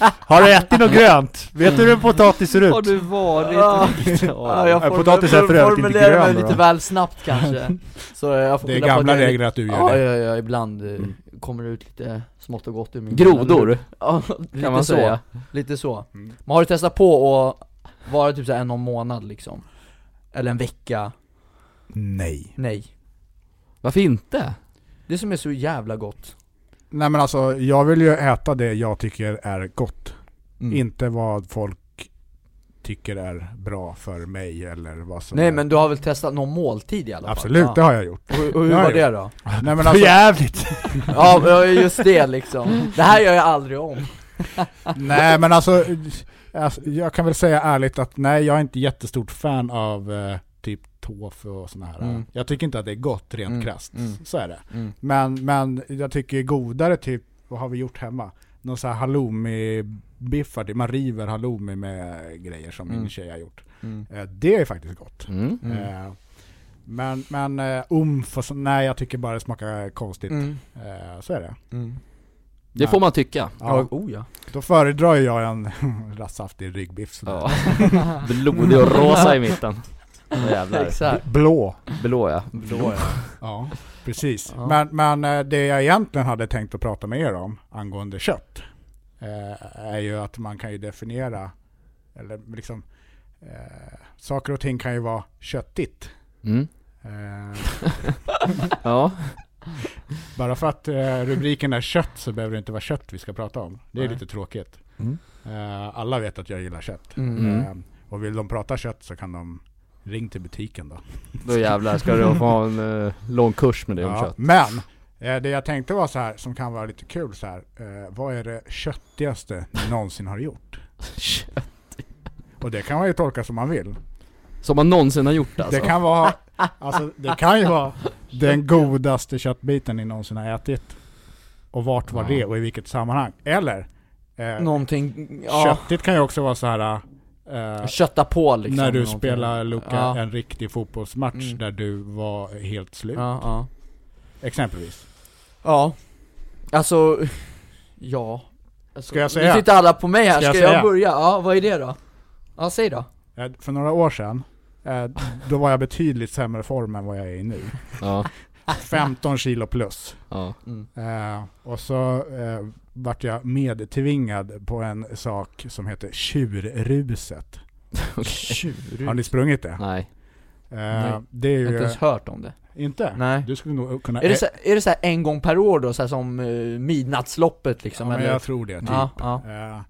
Speaker 1: har du ätit något grönt? Vet du hur en potatis ser
Speaker 2: Har
Speaker 1: ut?
Speaker 2: du varit
Speaker 4: Ja.
Speaker 2: vegetarian?
Speaker 4: Ja, jag
Speaker 1: Ja,
Speaker 4: form-
Speaker 1: potatis är för övrigt inte
Speaker 4: formulerar mig
Speaker 1: grön då,
Speaker 4: lite
Speaker 1: va?
Speaker 4: väl snabbt kanske. Så jag får
Speaker 3: det är
Speaker 4: skylla på
Speaker 3: gamla
Speaker 4: att jag-
Speaker 3: regler att du gör
Speaker 4: Ja,
Speaker 3: det. Mm.
Speaker 4: ja, ja, ibland eh, kommer det ut lite smått och gott ur min
Speaker 2: Grodor,
Speaker 4: Ja, lite
Speaker 2: kan man
Speaker 4: så.
Speaker 2: säga.
Speaker 4: Lite så.
Speaker 3: Mm.
Speaker 4: Man har du testat på att vara typ så här en och en månad liksom? Eller en vecka?
Speaker 3: Nej.
Speaker 4: Nej.
Speaker 2: Varför inte?
Speaker 4: Det som är så jävla gott.
Speaker 3: Nej men alltså, jag vill ju äta det jag tycker är gott.
Speaker 4: Mm.
Speaker 3: Inte vad folk tycker är bra för mig eller vad som
Speaker 4: Nej
Speaker 3: är.
Speaker 4: men du har väl testat någon måltid i alla fall?
Speaker 3: Absolut, det
Speaker 4: Ja.
Speaker 3: har jag gjort.
Speaker 4: Och, och hur
Speaker 3: Det har
Speaker 4: var det
Speaker 3: jag
Speaker 4: då?
Speaker 3: Nej, men
Speaker 1: För
Speaker 3: alltså,
Speaker 1: jävligt!
Speaker 4: Ja, ja, just det liksom. Det här gör jag aldrig om.
Speaker 3: nej men alltså, alltså, jag kan väl säga ärligt att nej jag är inte jättestort fan av eh, typ tofu och såna här.
Speaker 4: Mm.
Speaker 3: Jag tycker inte att det är gott rent
Speaker 4: Mm,
Speaker 3: krasst.
Speaker 4: mm.
Speaker 3: Så är det.
Speaker 4: Mm.
Speaker 3: Men, men jag tycker godare typ, vad har vi gjort hemma? Någon sån här halloumi-biffar, typ. man river halloumi med grejer som
Speaker 4: Mm.
Speaker 3: min tjej har gjort.
Speaker 4: Mm.
Speaker 3: Eh, Det är faktiskt gott.
Speaker 2: Mm.
Speaker 3: Eh, Men, men eh, umf och så, nej jag tycker bara det smakar konstigt.
Speaker 4: Mm.
Speaker 3: Eh, Så är det.
Speaker 4: Mm.
Speaker 2: Det får man tycka.
Speaker 4: Ja,
Speaker 3: Ja,
Speaker 4: oh ja.
Speaker 3: då föredrar ju jag en rassaftig ryggbiff sådär.
Speaker 2: Ja. Blodig och rosa i mitten. Åh, Jävlar.
Speaker 4: Exakt.
Speaker 1: Blå.
Speaker 2: Blå ja.
Speaker 1: Blå ja.
Speaker 3: Ja, precis.
Speaker 4: Ja.
Speaker 3: Men, men eh, det jag egentligen hade tänkt att prata med er om angående kött eh, är ju att man kan ju definiera, eller liksom, eh, saker och ting kan ju vara köttigt.
Speaker 2: Mm.
Speaker 3: Eh,
Speaker 2: Ja.
Speaker 3: bara för att eh, rubriken är kött så behöver det inte vara kött vi ska prata om. Det är
Speaker 4: Nej.
Speaker 3: lite tråkigt.
Speaker 1: Mm.
Speaker 3: Eh, alla vet att jag gillar kött.
Speaker 4: Mm.
Speaker 2: Mm.
Speaker 3: Eh, och vill de prata kött så kan de ring till butiken då.
Speaker 2: Då jävlar ska du få ha en eh, lång kurs med det om
Speaker 3: Ja,
Speaker 2: kött.
Speaker 3: Men eh, det jag tänkte var så här, som kan vara lite kul så här. Eh, vad är det köttigaste ni någonsin har gjort? Och det kan man ju tolka som man vill.
Speaker 2: Som man någonsin har gjort alltså.
Speaker 3: Det kan vara, alltså det kan ju vara den godaste köttbiten ni någonsin har ätit. Och vart var
Speaker 2: Ja.
Speaker 3: det och i vilket sammanhang? Eller, eh,
Speaker 4: Någonting, ja.
Speaker 3: köttigt kan ju också vara så här. eh,
Speaker 4: Kötta på liksom.
Speaker 3: när du
Speaker 4: någonting.
Speaker 3: spelar Luca
Speaker 4: Ja.
Speaker 3: en riktig fotbollsmatch
Speaker 4: Mm.
Speaker 3: där du var helt slut.
Speaker 4: Ja, ja.
Speaker 3: Exempelvis.
Speaker 4: Ja. Alltså, ja. Alltså,
Speaker 3: Ska jag säga?
Speaker 4: Nu tittar alla på mig här,
Speaker 3: Ska
Speaker 4: ska,
Speaker 3: jag
Speaker 4: jag,
Speaker 3: säga?
Speaker 4: börja? Ja, vad är det då? Ja, säg då.
Speaker 3: Eh, För några år sedan, eh, då var jag betydligt sämre form än vad jag är i nu.
Speaker 2: Ja.
Speaker 3: 15 kilo plus.
Speaker 2: Ja.
Speaker 3: Eh, och så eh, vart jag medtvingad på en sak som heter tjurruset.
Speaker 4: Tjurig.
Speaker 3: Har ni sprungit det?
Speaker 2: Nej.
Speaker 3: Eh,
Speaker 4: Nej.
Speaker 3: det är
Speaker 4: Jag har
Speaker 3: ju...
Speaker 4: inte ens hört om det.
Speaker 3: Inte?
Speaker 4: Nej.
Speaker 3: Du skulle nog kunna...
Speaker 4: Är det, så, är det så här en gång per år då, så här som eh, midnattsloppet liksom?
Speaker 3: ja, men
Speaker 4: eller?
Speaker 3: jag tror det. Typ.
Speaker 4: ja, ja.
Speaker 3: Eh,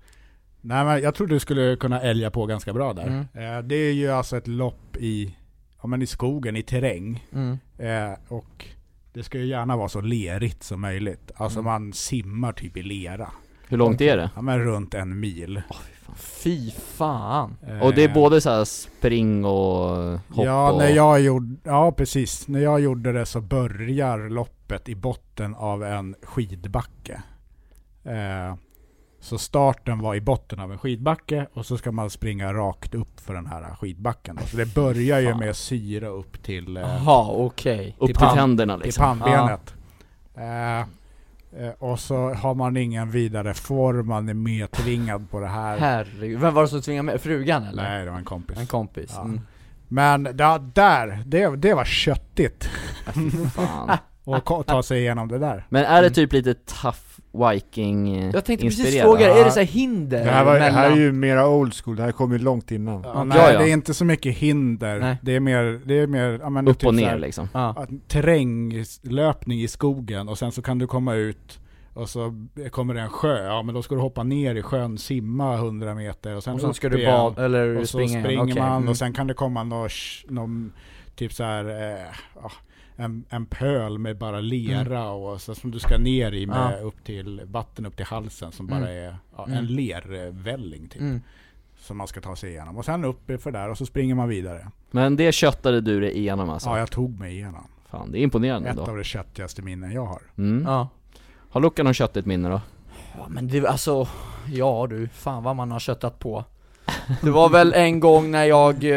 Speaker 3: nej men jag tror du skulle kunna älga på ganska bra där.
Speaker 4: Mm.
Speaker 3: Eh, det är ju alltså ett lopp i, ja, men i skogen, i terräng.
Speaker 4: Mm.
Speaker 3: Eh, och det ska ju gärna vara så lerigt som möjligt. Alltså
Speaker 4: Mm.
Speaker 3: man simmar typ i lera.
Speaker 2: Hur långt är det?
Speaker 3: Ja men runt en mil.
Speaker 4: Fy fan.
Speaker 3: Eh,
Speaker 2: Och det är både så här spring och hopp
Speaker 3: Ja,
Speaker 2: och...
Speaker 3: när jag gjorde, ja precis. När jag gjorde det så börjar loppet i botten av en skidbacke. Eh, så starten var i botten av en skidbacke och så ska man springa rakt upp för den här skidbacken. Så det börjar ju
Speaker 2: Fan.
Speaker 3: med syra upp till... eh,
Speaker 4: Jaha, okej. Typ
Speaker 2: Upp till
Speaker 3: pan-
Speaker 2: tänderna
Speaker 3: i
Speaker 2: liksom.
Speaker 3: pannbenet. Eh, eh, och så har man ingen vidare form, man är medtvingad på det här.
Speaker 4: Herregud. Vem var det som tvingade med? Frugan eller?
Speaker 3: Nej, det var en kompis.
Speaker 4: En kompis.
Speaker 3: Ja.
Speaker 4: Mm.
Speaker 3: Men da, där, det, det var köttigt
Speaker 2: Fan.
Speaker 3: att ko- ta sig igenom det där.
Speaker 2: Men är det typ lite tough viking eh,
Speaker 4: Jag tänkte precis
Speaker 2: inspirerad?
Speaker 4: fråga,
Speaker 1: Ja.
Speaker 4: är det så här hinder
Speaker 1: Det här, var, det här är
Speaker 4: mellan-
Speaker 1: ju mera old school. Det här kom ju långt innan.
Speaker 3: Ja,
Speaker 4: Ja,
Speaker 3: nej,
Speaker 2: ja, ja.
Speaker 3: det är inte så mycket hinder.
Speaker 4: Nej.
Speaker 3: Det är mer, det är mer, ja men typ
Speaker 2: Upp och
Speaker 3: så
Speaker 2: ner
Speaker 3: här,
Speaker 2: liksom.
Speaker 4: Ja.
Speaker 3: att- terränglöpning i skogen och sen så kan du komma ut och så kommer det en sjö, ja men då ska du hoppa ner i sjön, simma 100 meter och sen
Speaker 4: Och så
Speaker 3: upp
Speaker 4: ska du
Speaker 3: igen.
Speaker 4: bad, eller
Speaker 3: Och så
Speaker 4: springa igen.
Speaker 3: springer
Speaker 4: Okej.
Speaker 3: man
Speaker 4: Mm.
Speaker 3: och sen kan det komma någon, sh- någon typ så här, eh, ja, en, en pöl med bara lera och så som du ska ner i med
Speaker 4: Mm. Ja.
Speaker 3: upp till vatten upp till halsen som
Speaker 4: Mm.
Speaker 3: bara är ja, en
Speaker 4: Mm.
Speaker 3: lervälling typ.
Speaker 4: Mm.
Speaker 3: Som man ska ta sig igenom. Och sen upp för där och så springer man vidare.
Speaker 2: Men det köttade du dig igenom alltså?
Speaker 3: Ja, jag tog mig igenom.
Speaker 2: Fan, det är imponerande
Speaker 3: Ett
Speaker 2: ändå.
Speaker 3: av de köttigaste minnen jag har.
Speaker 2: Mm.
Speaker 4: Ja.
Speaker 2: Har Luca någon köttigt minne då?
Speaker 4: Ja men det, alltså, ja du, fan vad man har köttat på Det var väl en gång när jag, eh,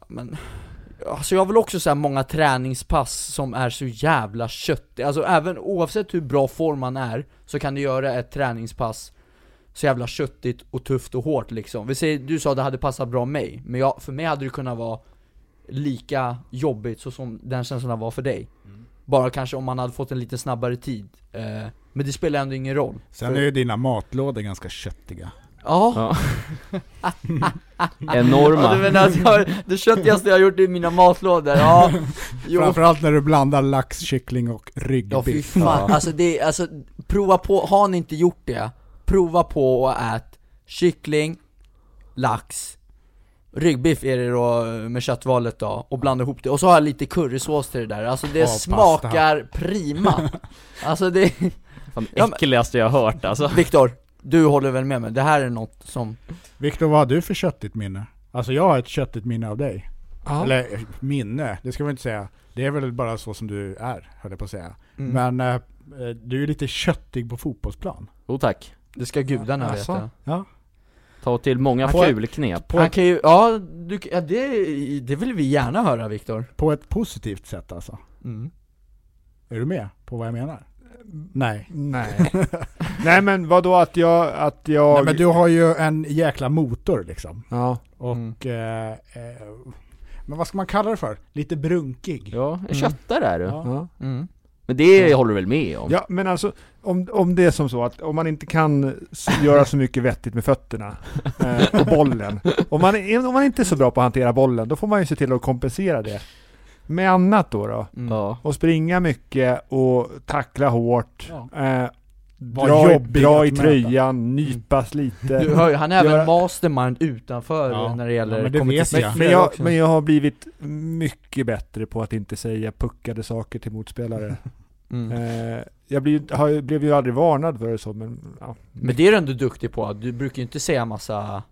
Speaker 4: ja, men, alltså jag har väl också så här många träningspass som är så jävla köttiga, alltså även oavsett hur bra form man är, så kan du göra ett träningspass så jävla köttigt och tufft och hårt liksom. Vi säger, du sa att det hade passat bra mig, men jag, för mig hade det kunnat vara lika jobbigt så som den känslan var för dig. Bara kanske om man hade fått en lite snabbare tid. Eh, men det spelar ändå ingen roll.
Speaker 3: Sen är ju dina matlådor ganska köttiga.
Speaker 4: Ja,
Speaker 2: Ja.
Speaker 4: ja du
Speaker 2: Enorma.
Speaker 4: menar att jag, det köttigaste jag har gjort i mina matlådor, ja. Jo.
Speaker 3: Framförallt när du blandar lax, kyckling och
Speaker 4: Ja fy
Speaker 3: ryggbiff.
Speaker 4: fan, alltså det, alltså prova på, har ni inte gjort det, prova på och ät kyckling, lax, ryggbiff är det då med köttvalet då, och blanda ihop det, och så har jag lite currysås till det där, alltså det
Speaker 3: Ja, pasta.
Speaker 4: smakar prima Alltså det,
Speaker 2: Fan,
Speaker 4: Ja, men-
Speaker 2: äckligaste jag har hört alltså.
Speaker 4: Viktor, du håller väl med mig? Det här är något som,
Speaker 3: Viktor, vad har du för köttigt minne? Alltså jag har ett köttigt minne av dig.
Speaker 4: Ja.
Speaker 3: Eller minne, det ska man inte säga. Det är väl bara så som du är, höll jag på att säga.
Speaker 4: Mm.
Speaker 3: Men eh, eh, du är lite köttig på fotbollsplan.
Speaker 2: Oh tack.
Speaker 4: Det ska gudarna
Speaker 3: Jaså?
Speaker 4: veta
Speaker 3: Ja.
Speaker 2: Ta till många
Speaker 3: Får jag-
Speaker 2: fulknep.
Speaker 3: På,
Speaker 4: Han kan ju, ja, du, ja det, det vill vi gärna höra Viktor
Speaker 3: på ett positivt sätt alltså. Är du med på vad jag menar? Nej.
Speaker 1: Nej. Nej men vadå att jag, att jag...
Speaker 3: Nej men du har ju en jäkla motor liksom.
Speaker 1: Ja.
Speaker 3: Och, eh, eh, men vad ska man kalla det för? Lite brunkig.
Speaker 2: Ja, en köttare är du.
Speaker 3: Mm. Ja.
Speaker 1: ja.
Speaker 4: Mm.
Speaker 2: Men det håller du väl med om?
Speaker 1: Ja men alltså, om, om det är som så att om man inte kan s- göra så mycket vettigt med fötterna eh, och bollen. Om man, är- om man inte är så bra på att hantera bollen, då får man ju se till att kompensera det. Med annat då då.
Speaker 4: Mm.
Speaker 2: Ja.
Speaker 1: Och springa mycket och tackla hårt.
Speaker 3: Ja.
Speaker 1: Eh,
Speaker 3: Var
Speaker 1: dra, i-
Speaker 3: jobbig
Speaker 1: dra
Speaker 3: att
Speaker 1: i
Speaker 3: möta.
Speaker 1: tröjan, nypas lite.
Speaker 4: Du hör ju, han är
Speaker 1: Göra-
Speaker 4: även mastermind utanför
Speaker 3: Ja.
Speaker 4: när det gäller
Speaker 3: Ja, men det vet
Speaker 4: kompetition.
Speaker 3: jag.
Speaker 1: Men jag,
Speaker 4: också.
Speaker 1: men jag har blivit mycket bättre på att inte säga puckade saker till motspelare.
Speaker 4: Mm.
Speaker 1: eh, jag blir, har, ju- blev ju aldrig varnad för det så, men ja.
Speaker 4: Men det är du ändå duktig på, du brukar ju inte säga massa,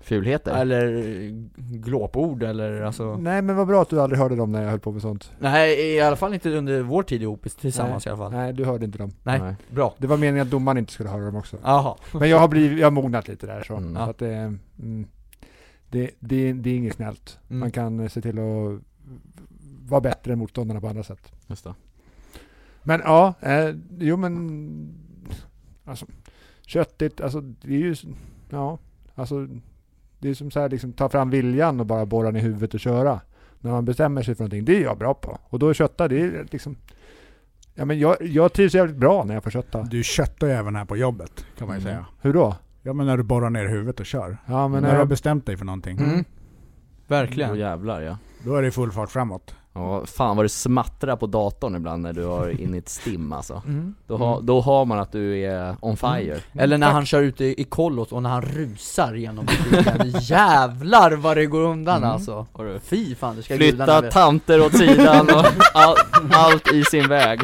Speaker 2: Fulheter.
Speaker 4: eller glåpord eller alltså
Speaker 1: Nej men vad bra att du aldrig hörde dem när jag höll på med sånt.
Speaker 4: Nej i alla fall inte under vår tid ihop tillsammans i alla fall
Speaker 1: Nej, du hörde inte dem.
Speaker 4: Nej. Bra,
Speaker 1: Det var meningen att domaren inte skulle höra dem också.
Speaker 4: jaha,
Speaker 1: Men jag har, blivit, jag har mognat lite där så.
Speaker 2: Mm.
Speaker 1: så att det, mm, det, det, det är inget snällt.
Speaker 4: Mm.
Speaker 1: Man kan eh, se till att vara bättre än motståndarna på andra sätt.
Speaker 2: Just det.
Speaker 1: Men ja, eh, jo men... Alltså, köttigt, alltså det är ju... Ja, alltså... Det är som så här, liksom, ta fram viljan och bara borra den i huvudet och köra. När man bestämmer sig för någonting, det är jag bra på. Och då kötta, det är liksom... Ja men jag, jag trivs jävligt bra när jag får kötta.
Speaker 3: Du köttar ju även här på jobbet kan man ju
Speaker 1: Mm.
Speaker 3: säga.
Speaker 1: Hur då?
Speaker 3: Ja men när du borrar ner huvudet och kör.
Speaker 1: Ja men
Speaker 3: när du
Speaker 1: när
Speaker 3: har
Speaker 1: jag...
Speaker 3: bestämt dig för någonting,
Speaker 4: mm.
Speaker 2: Åh,
Speaker 4: verkligen
Speaker 2: jävlar ja.
Speaker 3: då är det full fart framåt.
Speaker 2: Ja, fan vad du smattrar på datorn ibland när du har in i ett stim alltså.
Speaker 4: Mm.
Speaker 2: Då, ha, då har man att du är on fire.
Speaker 4: Eller när han kör ute i i kollot och när han rusar genom butiken Jävlar vad det går undan alltså
Speaker 2: Mm. Har du
Speaker 4: Fy fan det ska gudarna
Speaker 2: Flytta
Speaker 4: veta.
Speaker 2: tanter åt sidan och all, allt i sin väg.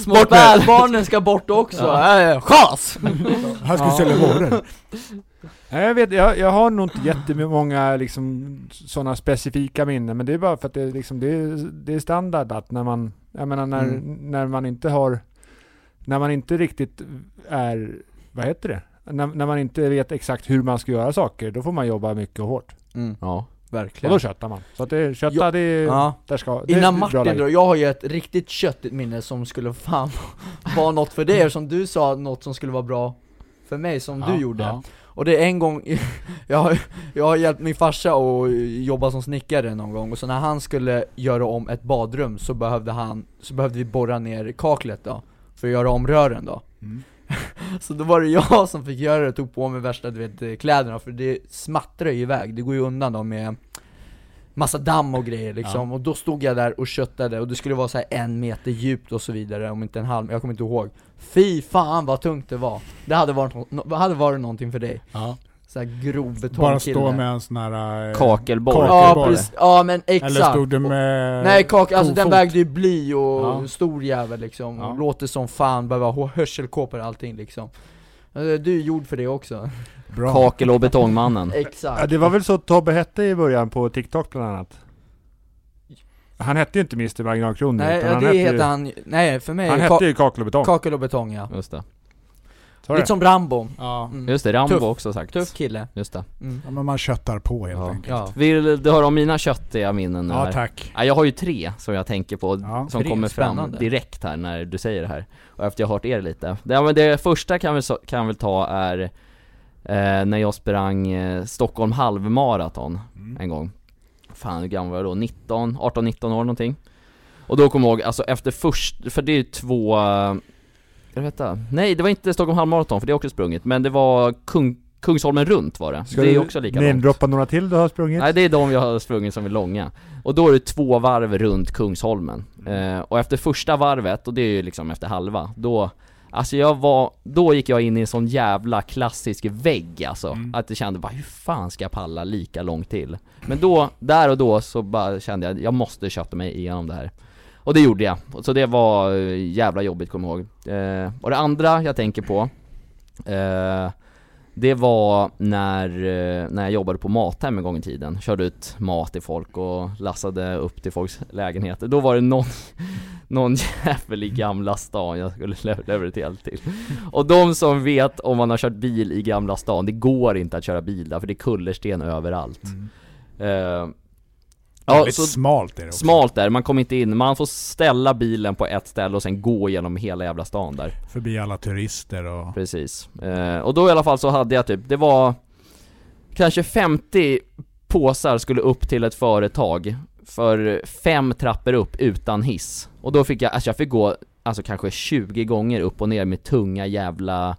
Speaker 4: Små bärbarnen ska bort också,
Speaker 2: Ja.
Speaker 4: ja. chas!
Speaker 3: Här ska vi sälja varor.
Speaker 1: Nej, jag, vet, jag, jag har nog inte jättemånga liksom, sådana specifika minnen. Men det är bara för att det, är liksom, det, är, det är standard att när man... Jag menar när,
Speaker 4: Mm.
Speaker 1: när man inte har... När man inte riktigt är... Vad heter det? När, när man inte vet exakt hur man ska göra saker, då får man jobba mycket och hårt.
Speaker 2: Ja.
Speaker 1: Och
Speaker 4: Verkligen
Speaker 1: då köttar man. Så att det, kötta,
Speaker 4: Ja.
Speaker 1: det är...
Speaker 4: ja.
Speaker 1: Där ska, det är
Speaker 4: Innan
Speaker 1: ett bra
Speaker 4: Martin
Speaker 1: läge.
Speaker 4: då, jag har ju ett riktigt köttigt minne som skulle fan vara något för
Speaker 1: Mm.
Speaker 4: dig som du sa något som skulle vara bra för mig som
Speaker 3: Ja,
Speaker 4: du gjorde
Speaker 3: ja.
Speaker 4: Och det är en gång, jag har, jag har hjälpt min farsa att jobba som snickare någon gång, och så när han skulle göra om ett badrum så behövde han, så behövde vi borra ner kaklet då, för att göra om rören då
Speaker 3: Mm.
Speaker 4: Så då var det jag som fick göra det, tog på mig värsta du vet, kläderna, för det smattrar ju iväg, det går ju undan då med massa damm och grejer liksom, och då stod jag där och köttade, och det skulle vara så här en meter djupt och så vidare, om inte en halv, jag kommer inte ihåg Fy fan vad tungt det var! Det hade varit, no- hade varit någonting för dig
Speaker 3: Ja.
Speaker 4: så här grov
Speaker 3: Bara
Speaker 4: betongkille
Speaker 3: stå med en sån här... eh,
Speaker 2: Kakelboll.
Speaker 3: Kak-
Speaker 4: Ja
Speaker 3: Kakelboll.
Speaker 4: precis, ja men exakt!
Speaker 3: Eller stod du med...
Speaker 4: Nej kaka, alltså den
Speaker 3: kofot?
Speaker 4: vägde ju bly och
Speaker 3: Ja.
Speaker 4: stor jävel liksom,
Speaker 3: Ja.
Speaker 4: låter som fan, behöver ha hörselkåpor och allting liksom Eh, Du är gjord för det också,
Speaker 3: Bra.
Speaker 2: Kakel och betongmannen.
Speaker 1: Ja,
Speaker 4: exakt
Speaker 1: det var väl så Tobbe hette i början på TikTok bland annat. Han hette ju inte Mr Marginalkronor.
Speaker 4: Nej
Speaker 1: utan
Speaker 4: ja,
Speaker 1: han
Speaker 4: det
Speaker 1: hette ju-
Speaker 4: heter han, nej för mig
Speaker 1: Han
Speaker 4: är
Speaker 1: hette
Speaker 4: ka-
Speaker 1: ju Kakel och Betong.
Speaker 4: kakel och betong ja,
Speaker 2: Just det.
Speaker 1: Sa du det?
Speaker 4: lite som Rambo
Speaker 3: Ja.
Speaker 4: mm.
Speaker 2: Just det, Rambo
Speaker 4: Tuff.
Speaker 2: också sagt.
Speaker 4: Tuff kille,
Speaker 2: Just det.
Speaker 4: mm.
Speaker 3: ja men man köttar på helt
Speaker 2: Ja.
Speaker 3: enkelt.
Speaker 4: ja
Speaker 2: Vill du höra om mina köttiga minnen nu
Speaker 3: Ja
Speaker 2: här?
Speaker 3: tack.
Speaker 2: Ja, jag har ju tre som jag tänker på,
Speaker 3: Ja,
Speaker 2: som
Speaker 4: tre,
Speaker 2: kommer fram
Speaker 4: spännande.
Speaker 2: direkt här när du säger det här. Och efter jag har hört er lite. Det, ja, men det första kan vi, så- kan vi ta är eh, när jag sprang eh, Stockholm halvmaraton en gång. Fan hur gammal var jag då? 19, 18-19 år någonting. Och då kommer jag ihåg, alltså efter först, för det är ju två, eh, jag vet inte, nej det var inte Stockholm halvmaraton för det har jag också sprungit, men det var Kung, Kungsholmen runt var det. det är också lika långt.
Speaker 1: namedroppa några till du har sprungit?
Speaker 2: Nej det är de jag har sprungit som är långa. Och då är det två varv runt Kungsholmen. Eh, och efter första varvet, och det är ju liksom efter halva, då Alltså jag var, då gick jag in i en sån jävla klassisk vägg alltså, att det kände bara hur fan ska jag palla lika långt till? Men då, där och då så bara kände jag, jag måste kötta mig igenom det här. Och det gjorde jag, så det var eh, jävla jobbigt kommer jag ihåg. Eh, och det andra jag tänker på, eh, Det var när, eh, när jag jobbade på Mathem en gång i tiden, körde ut mat till folk och lassade upp till folks lägenheter. Då var det någon, någon jävel i Gamla stan jag skulle le- leverera till. Och de som vet om man har kört bil i Gamla stan, det går inte att köra bil där för det är kullersten överallt. Eh, ja,
Speaker 3: Väldigt
Speaker 2: så
Speaker 3: smalt är det också.
Speaker 2: smalt där, man kommer inte in, man får ställa bilen på ett ställe och sen gå genom hela jävla stan där.
Speaker 3: Förbi alla turister och...
Speaker 2: Precis. Eh, och då i alla fall så hade jag typ, det var kanske 50 påsar skulle upp till ett företag för fem trappor upp utan hiss. Och då fick jag, alltså jag fick gå alltså kanske 20 gånger upp och ner med tunga jävla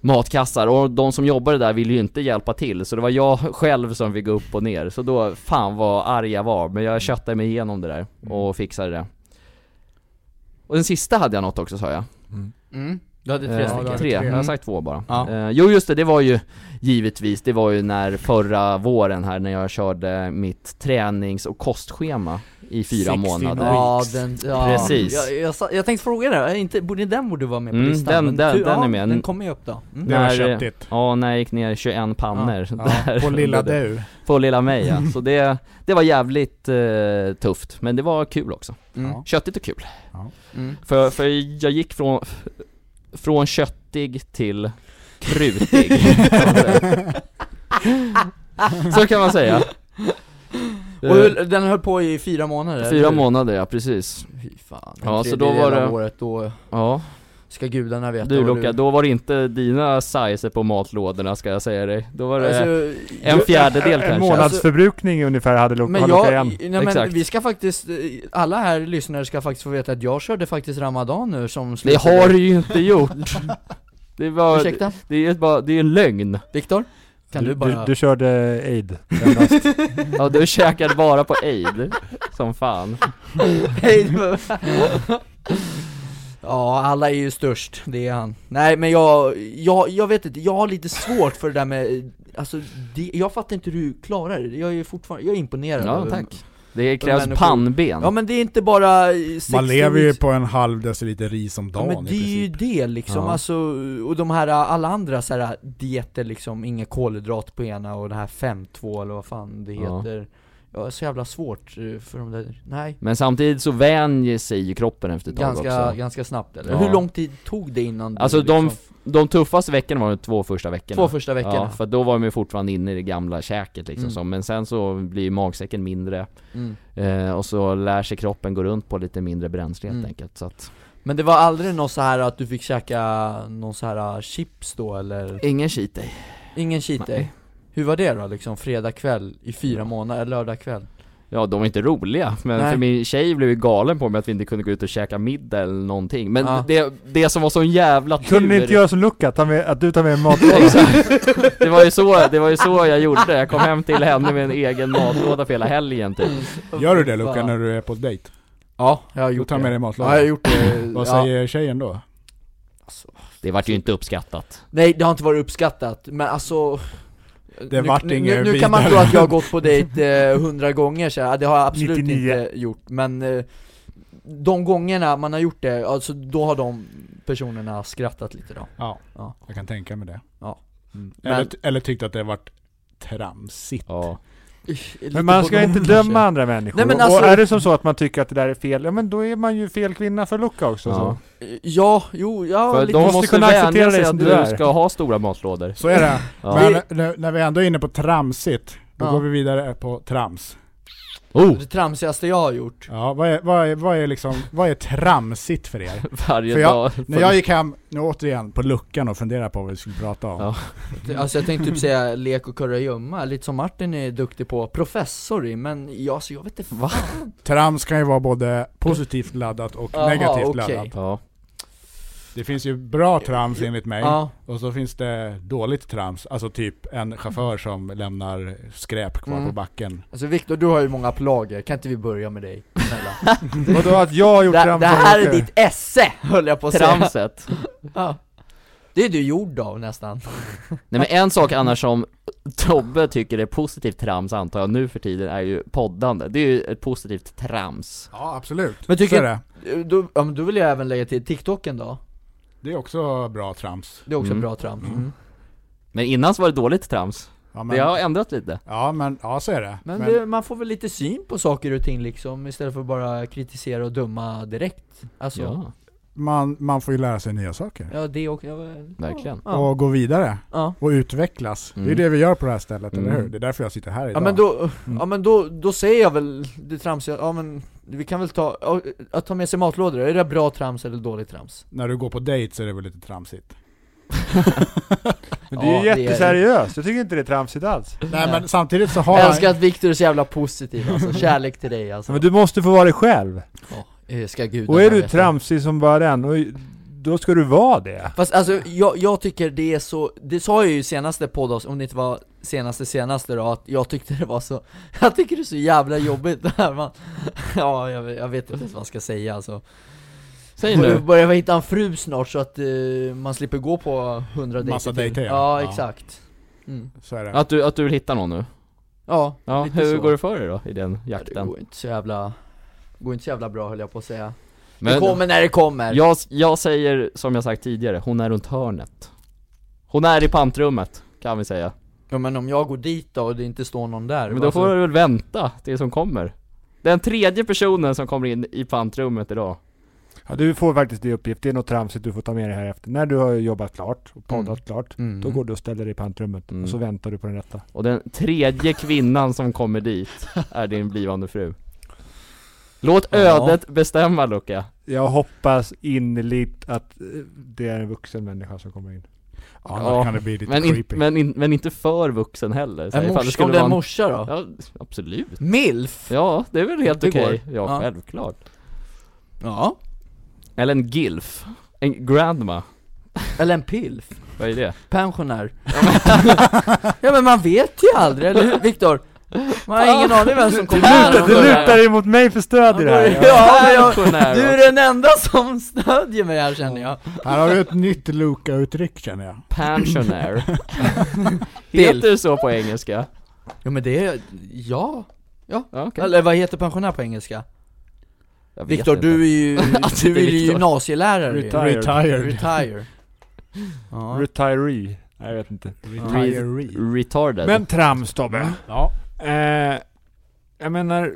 Speaker 2: matkassar och de som jobbade där ville ju inte hjälpa till så det var jag själv som fick gå upp och ner så då, fan vad arg jag var men jag köttade mig igenom det där och fixade det. Och den sista hade jag något också sa jag.
Speaker 4: Mm. Du hade
Speaker 2: Eh,
Speaker 4: tre stycken.
Speaker 2: tre, jag har
Speaker 4: Mm.
Speaker 2: sagt två bara.
Speaker 4: Ja.
Speaker 2: Eh, jo just det, det var ju givetvis, det var ju när förra våren här när jag körde mitt tränings och kostschema i fyra
Speaker 3: 60
Speaker 2: månader.
Speaker 4: Ja, den, ja.
Speaker 2: Precis.
Speaker 4: Jag, jag, sa- jag tänkte fråga dig, är inte, borde, den borde vara med på
Speaker 2: Mm,
Speaker 4: listan.
Speaker 2: den-
Speaker 4: men
Speaker 2: den-
Speaker 4: tur-
Speaker 2: den
Speaker 4: ja,
Speaker 2: är med.
Speaker 4: Den kommer ju upp då. Mm.
Speaker 3: Det var
Speaker 2: När-
Speaker 3: köttigt.
Speaker 2: Ja, när jag gick ner 21 pannor.
Speaker 3: Ja, på lilla
Speaker 2: dig.
Speaker 3: du.
Speaker 2: På lilla mig ja. Så det, det var jävligt eh, tufft, men det var kul också.
Speaker 4: Mm.
Speaker 3: Ja.
Speaker 2: Köttigt och kul.
Speaker 4: Mm.
Speaker 2: För, för jag gick från, från köttig till krutig. Så kan man säga.
Speaker 4: Och hur, den höll på i fyra månader?
Speaker 2: Fyra
Speaker 4: eller?
Speaker 2: månader ja, precis.
Speaker 4: Fy fan,
Speaker 2: Ja,
Speaker 4: en
Speaker 2: så då var
Speaker 4: tredjedel
Speaker 2: det-
Speaker 4: av året, då
Speaker 2: Ja,
Speaker 4: ska gudarna veta
Speaker 2: du
Speaker 4: vad
Speaker 2: Luca, då var det inte dina sizer på matlådorna ska jag säga dig. Då var det
Speaker 4: Alltså,
Speaker 2: en
Speaker 4: ju-
Speaker 2: fjärdedel
Speaker 1: En
Speaker 2: kanske.
Speaker 1: månadsförbrukning ungefär hade Luca
Speaker 4: Men
Speaker 1: har
Speaker 4: jag,
Speaker 1: Luca igen.
Speaker 4: nej, men
Speaker 2: Exakt.
Speaker 4: vi ska faktiskt, eh, alla här lyssnare ska faktiskt få veta att jag körde faktiskt Ramadan nu som
Speaker 2: Det
Speaker 4: slutade-
Speaker 2: har du ju inte gjort. Det var,
Speaker 4: Ursäkta?
Speaker 2: det är ju bara, det är en lögn.
Speaker 4: Viktor? Kan du, bara...
Speaker 1: du, du körde aid endast.
Speaker 2: Ja du käkade bara på aid, som fan.
Speaker 4: Hej, det var- Ja, alla är ju störst, det är han. Nej men jag, jag, jag vet inte, jag har lite svårt för det där med, alltså, det, jag fattar inte hur du klarar det, jag är fortfarande, jag är imponerad
Speaker 2: Ja,
Speaker 4: över-
Speaker 2: tack. Det krävs
Speaker 4: människor-
Speaker 2: pannben.
Speaker 4: Ja men det är inte bara eh, 60
Speaker 3: Man lever ju på en halv deciliter ris om
Speaker 4: Ja,
Speaker 3: dagen
Speaker 4: men det
Speaker 3: i
Speaker 4: är ju
Speaker 3: princip.
Speaker 4: det liksom,
Speaker 2: Ja.
Speaker 4: alltså, och de här, eh, alla andra så här dieter liksom, inga kolhydrat på ena och det här 5-2 eller vad fan det
Speaker 2: Ja.
Speaker 4: heter Ja, så jävla svårt eh, för de där, nej
Speaker 2: Men samtidigt så vänjer sig ju kroppen efter ett tag
Speaker 4: Ganska,
Speaker 2: också.
Speaker 4: ganska snabbt eller?
Speaker 2: Ja.
Speaker 4: Hur lång tid tog det innan du
Speaker 2: Alltså de,
Speaker 4: liksom,
Speaker 2: de tuffaste veckorna var de två första veckorna.
Speaker 4: två första veckorna?
Speaker 2: Ja, för då var de ju fortfarande inne i det gamla käket liksom
Speaker 4: Mm.
Speaker 2: så. men sen så blir ju magsäcken mindre
Speaker 4: mm.
Speaker 2: eh, och så lär sig kroppen gå runt på lite mindre bränsle helt
Speaker 4: Mm.
Speaker 2: enkelt så att
Speaker 4: Men det var aldrig något så här att du fick käka någon så här äh, chips då eller?
Speaker 2: Ingen cheat day.
Speaker 4: Ingen cheat day?
Speaker 2: Nej.
Speaker 4: Hur var det då liksom, fredag kväll i fyra månader, eller lördag kväll?
Speaker 2: Ja de är inte roliga, men
Speaker 4: Nej.
Speaker 2: för min tjej blev ju galen på mig att vi inte kunde gå ut och käka middag eller någonting Men
Speaker 4: Ja.
Speaker 2: det, det som var sån jävla tur
Speaker 1: Kunde ni inte göra som Luca, ta med, att du tar med en matlåda?
Speaker 2: Exakt. Det var ju så, det var ju så jag gjorde, jag kom hem till henne med en egen matlåda för hela helgen typ
Speaker 3: Gör du det Luca
Speaker 4: Fan.
Speaker 3: när du är på dejt?
Speaker 4: Ja, jag har
Speaker 3: Du
Speaker 4: gjort
Speaker 3: tar
Speaker 4: det
Speaker 3: med dig
Speaker 4: Ja, jag har
Speaker 3: matlådan?
Speaker 4: gjort det
Speaker 3: Vad
Speaker 4: ja.
Speaker 3: säger tjejen då?
Speaker 2: Det vart ju inte uppskattat
Speaker 4: Nej det har inte varit uppskattat, men alltså
Speaker 3: Det vart
Speaker 4: nu,
Speaker 3: inget
Speaker 4: nu, nu kan man
Speaker 3: vidare.
Speaker 4: tro att jag har gått på dejt eh, hundra gånger så här. det har jag absolut
Speaker 1: 99.
Speaker 4: inte gjort, men eh, de gångerna man har gjort det, alltså då har de personerna skrattat lite då
Speaker 3: Ja,
Speaker 4: Ja.
Speaker 3: jag kan tänka mig det.
Speaker 4: Ja.
Speaker 3: Mm.
Speaker 4: Men-
Speaker 3: Eller, eller tyckte att det vart tramsigt.
Speaker 2: Ja,
Speaker 4: Lite
Speaker 1: Men man
Speaker 4: på
Speaker 1: ska
Speaker 4: dem
Speaker 1: inte
Speaker 4: kanske.
Speaker 1: döma andra människor.
Speaker 4: Nej, men alltså-
Speaker 1: Och är det som så att man tycker att det där är fel, ja men då är man ju fel kvinna för Luca också. Så.
Speaker 2: ja.
Speaker 4: Ja, jo, ja,
Speaker 2: För
Speaker 4: lite
Speaker 2: de
Speaker 1: Måste
Speaker 2: måste
Speaker 1: kunna acceptera
Speaker 2: vänja
Speaker 1: dig
Speaker 2: sig
Speaker 1: som
Speaker 2: att
Speaker 1: du
Speaker 2: du
Speaker 1: är.
Speaker 2: ska ha stora matlådor
Speaker 3: Så är det.
Speaker 2: Ja.
Speaker 3: Men när, när vi ändå är inne på tramsigt, då
Speaker 4: Ja.
Speaker 3: går vi vidare på trams.
Speaker 2: Oh!
Speaker 4: det tramsigaste jag har gjort
Speaker 3: Ja, vad är, vad är, vad är, liksom, vad är tramsigt för er?
Speaker 2: Varje
Speaker 3: För jag-
Speaker 2: dag
Speaker 3: När jag gick hem, nu återigen, på luckan och funderade på vad vi skulle prata om.
Speaker 2: Ja.
Speaker 4: Alltså jag tänkte typ säga lek och kurragömma, lite som Martin är duktig på, professor i, men ja, så jag vet inte
Speaker 2: Va?
Speaker 3: Trams kan ju vara både positivt laddat och
Speaker 4: Jaha,
Speaker 3: negativt
Speaker 4: okej.
Speaker 3: laddat.
Speaker 2: Ja,
Speaker 3: Det finns ju bra trams enligt mig,
Speaker 4: Ja,
Speaker 3: och så finns det dåligt trams. Alltså typ en chaufför som lämnar skräp kvar
Speaker 4: Mm.
Speaker 3: på backen.
Speaker 4: alltså Viktor du har ju många plager, kan inte vi börja med dig? Snälla
Speaker 1: Vadå att jag har gjort
Speaker 4: Det,
Speaker 1: trams
Speaker 4: det
Speaker 1: som
Speaker 4: här är
Speaker 1: Luca?
Speaker 4: ditt esse, höll jag på att säga
Speaker 2: tramset
Speaker 4: ja. Det är du gjord av nästan
Speaker 2: Nej men en sak annars som Tobbe tycker är positivt trams antar jag nu för tiden är ju poddande, det är ju ett positivt trams
Speaker 3: Ja, absolut.
Speaker 4: Men tycker-
Speaker 3: så är det.
Speaker 4: då, ja, men då vill jag även lägga till TikToken då,
Speaker 3: Det är också bra trams.
Speaker 4: det är också
Speaker 2: Mm.
Speaker 4: bra trams mm.
Speaker 2: Men innan så var det dåligt trams.
Speaker 3: Ja
Speaker 2: Det har
Speaker 3: men,
Speaker 2: ändrat lite.
Speaker 3: ja, men ja, så är det.
Speaker 4: Men,
Speaker 3: Men-
Speaker 4: det, man får väl lite syn på saker och ting liksom, istället för att bara kritisera och döma direkt Alltså, ja,
Speaker 2: Ja,
Speaker 3: man, man får ju lära sig nya saker.
Speaker 4: det också, ja, väl-
Speaker 2: verkligen.
Speaker 4: ja.
Speaker 3: Och gå vidare.
Speaker 4: Ja.
Speaker 3: Och utvecklas. Det är
Speaker 2: Mm.
Speaker 3: det vi gör på det här stället, eller
Speaker 2: Mm.
Speaker 3: hur? Det är därför jag sitter här idag.
Speaker 4: Ja men då, ja men då, då säger jag väl det tramsiga, ja men vi kan väl ta, ja, att ta med sig matlådor, är det bra trams eller dåligt trams?
Speaker 3: När du går på dejt så är det väl lite tramsigt.
Speaker 1: Men det är ju
Speaker 4: Ja, det är-
Speaker 1: jätteseriöst. Jag tycker inte det är tramsigt alls.
Speaker 3: Nej men samtidigt så har
Speaker 4: Jag
Speaker 3: han...
Speaker 4: älskar att Viktor är så jävla positiv alltså, kärlek till dig alltså
Speaker 1: Men du måste få vara dig själv.
Speaker 4: Eh, Ska gudarna
Speaker 1: Och är du
Speaker 4: veta.
Speaker 1: tramsig som bara den, och då ska du vara det.
Speaker 4: Fast alltså, jag, jag tycker det är så, det sa jag ju i senaste podd om det inte var senaste senaste då, att jag tyckte det var så, jag tycker det är så jävla jobbigt det här man, ja jag, vet- jag vet inte ens vad man ska säga alltså
Speaker 2: Säg
Speaker 4: Bör-
Speaker 2: nu.
Speaker 4: Börjar vi hitta en fru snart så att eh, man slipper gå på hundra dejter
Speaker 3: Massa
Speaker 4: till.
Speaker 3: dejter, ja.
Speaker 4: ja.
Speaker 3: Ja.
Speaker 4: exakt mm.
Speaker 3: Så är det.
Speaker 2: Att du, att du vill hitta någon nu.
Speaker 4: Ja,
Speaker 2: Ja,
Speaker 4: lite
Speaker 2: hur
Speaker 4: så.
Speaker 2: går det för dig då i den
Speaker 4: Ja, Det
Speaker 2: jakten?
Speaker 4: går inte så jävla, går inte så jävla bra höll jag på att säga
Speaker 2: Men
Speaker 4: Det kommer när det kommer!
Speaker 2: jag, jag säger som jag sagt tidigare, hon är runt hörnet. Hon är i pantrummet, kan vi säga.
Speaker 4: Ja men om jag går dit då och det inte står någon där
Speaker 2: Men då
Speaker 4: alltså-
Speaker 2: får du väl vänta tills hon kommer. Den tredje personen som kommer in i pantrummet idag.
Speaker 1: Ja, du får faktiskt det uppgift. Det är något tramsigt du får ta med dig här efter. När du har jobbat klart och poddat klart,
Speaker 4: Mm.
Speaker 1: då går du och ställer dig i pantrummet
Speaker 2: Mm.
Speaker 1: och så väntar du på den rätta.
Speaker 2: Och den tredje kvinnan som kommer dit är din blivande fru. Låt
Speaker 4: Ja.
Speaker 2: ödet bestämma Luca.
Speaker 1: Jag hoppas innerligt att eh, det är en vuxen människa som kommer in.
Speaker 3: Ja, annars
Speaker 2: Ja,
Speaker 3: kan det bli lite
Speaker 2: Men, in,
Speaker 3: creepy.
Speaker 2: men, in, men inte för vuxen heller. Så här,
Speaker 4: En
Speaker 2: ifall
Speaker 4: morsa, om
Speaker 2: skulle
Speaker 4: det är en
Speaker 2: vara
Speaker 4: morsa då?
Speaker 2: en- Ja, absolut.
Speaker 4: Milf?
Speaker 2: Ja, det är väl helt
Speaker 4: Det går.
Speaker 2: okej. Ja,
Speaker 4: Ja.
Speaker 2: självklart.
Speaker 4: Ja
Speaker 2: Eller en gilf. En grandma.
Speaker 4: Eller en pilf?
Speaker 2: Vad är det?
Speaker 4: Pensionär Ja men man vet ju aldrig, eller hur Viktor? Man har ingen aning vem som kommer här
Speaker 1: Luta,
Speaker 4: någon
Speaker 1: du
Speaker 4: gång.
Speaker 1: lutar dig mot mig för stöd i det här.
Speaker 4: Ja, men jag,
Speaker 2: Pensionär
Speaker 4: du är den enda som stödjer mig här känner jag
Speaker 3: Här har vi ett nytt Luca-uttryck känner jag.
Speaker 2: Pensionaire. Heter det så på engelska?
Speaker 4: Ja men det är, ja
Speaker 2: Ja, okej.
Speaker 4: Eller vad heter pensionär på engelska?
Speaker 2: Jag vet
Speaker 4: Viktor,
Speaker 2: inte.
Speaker 4: du är ju,
Speaker 2: Att
Speaker 4: du
Speaker 2: det är
Speaker 4: är ju
Speaker 2: Viktor.
Speaker 4: gymnasielärare ju.
Speaker 1: Retired.
Speaker 4: Retire Ja,
Speaker 1: Retiree. Nej, jag vet inte.
Speaker 3: Retiree.
Speaker 2: Retarded.
Speaker 1: Men trams Tobbe.
Speaker 3: Ja.
Speaker 1: Eh, jag menar,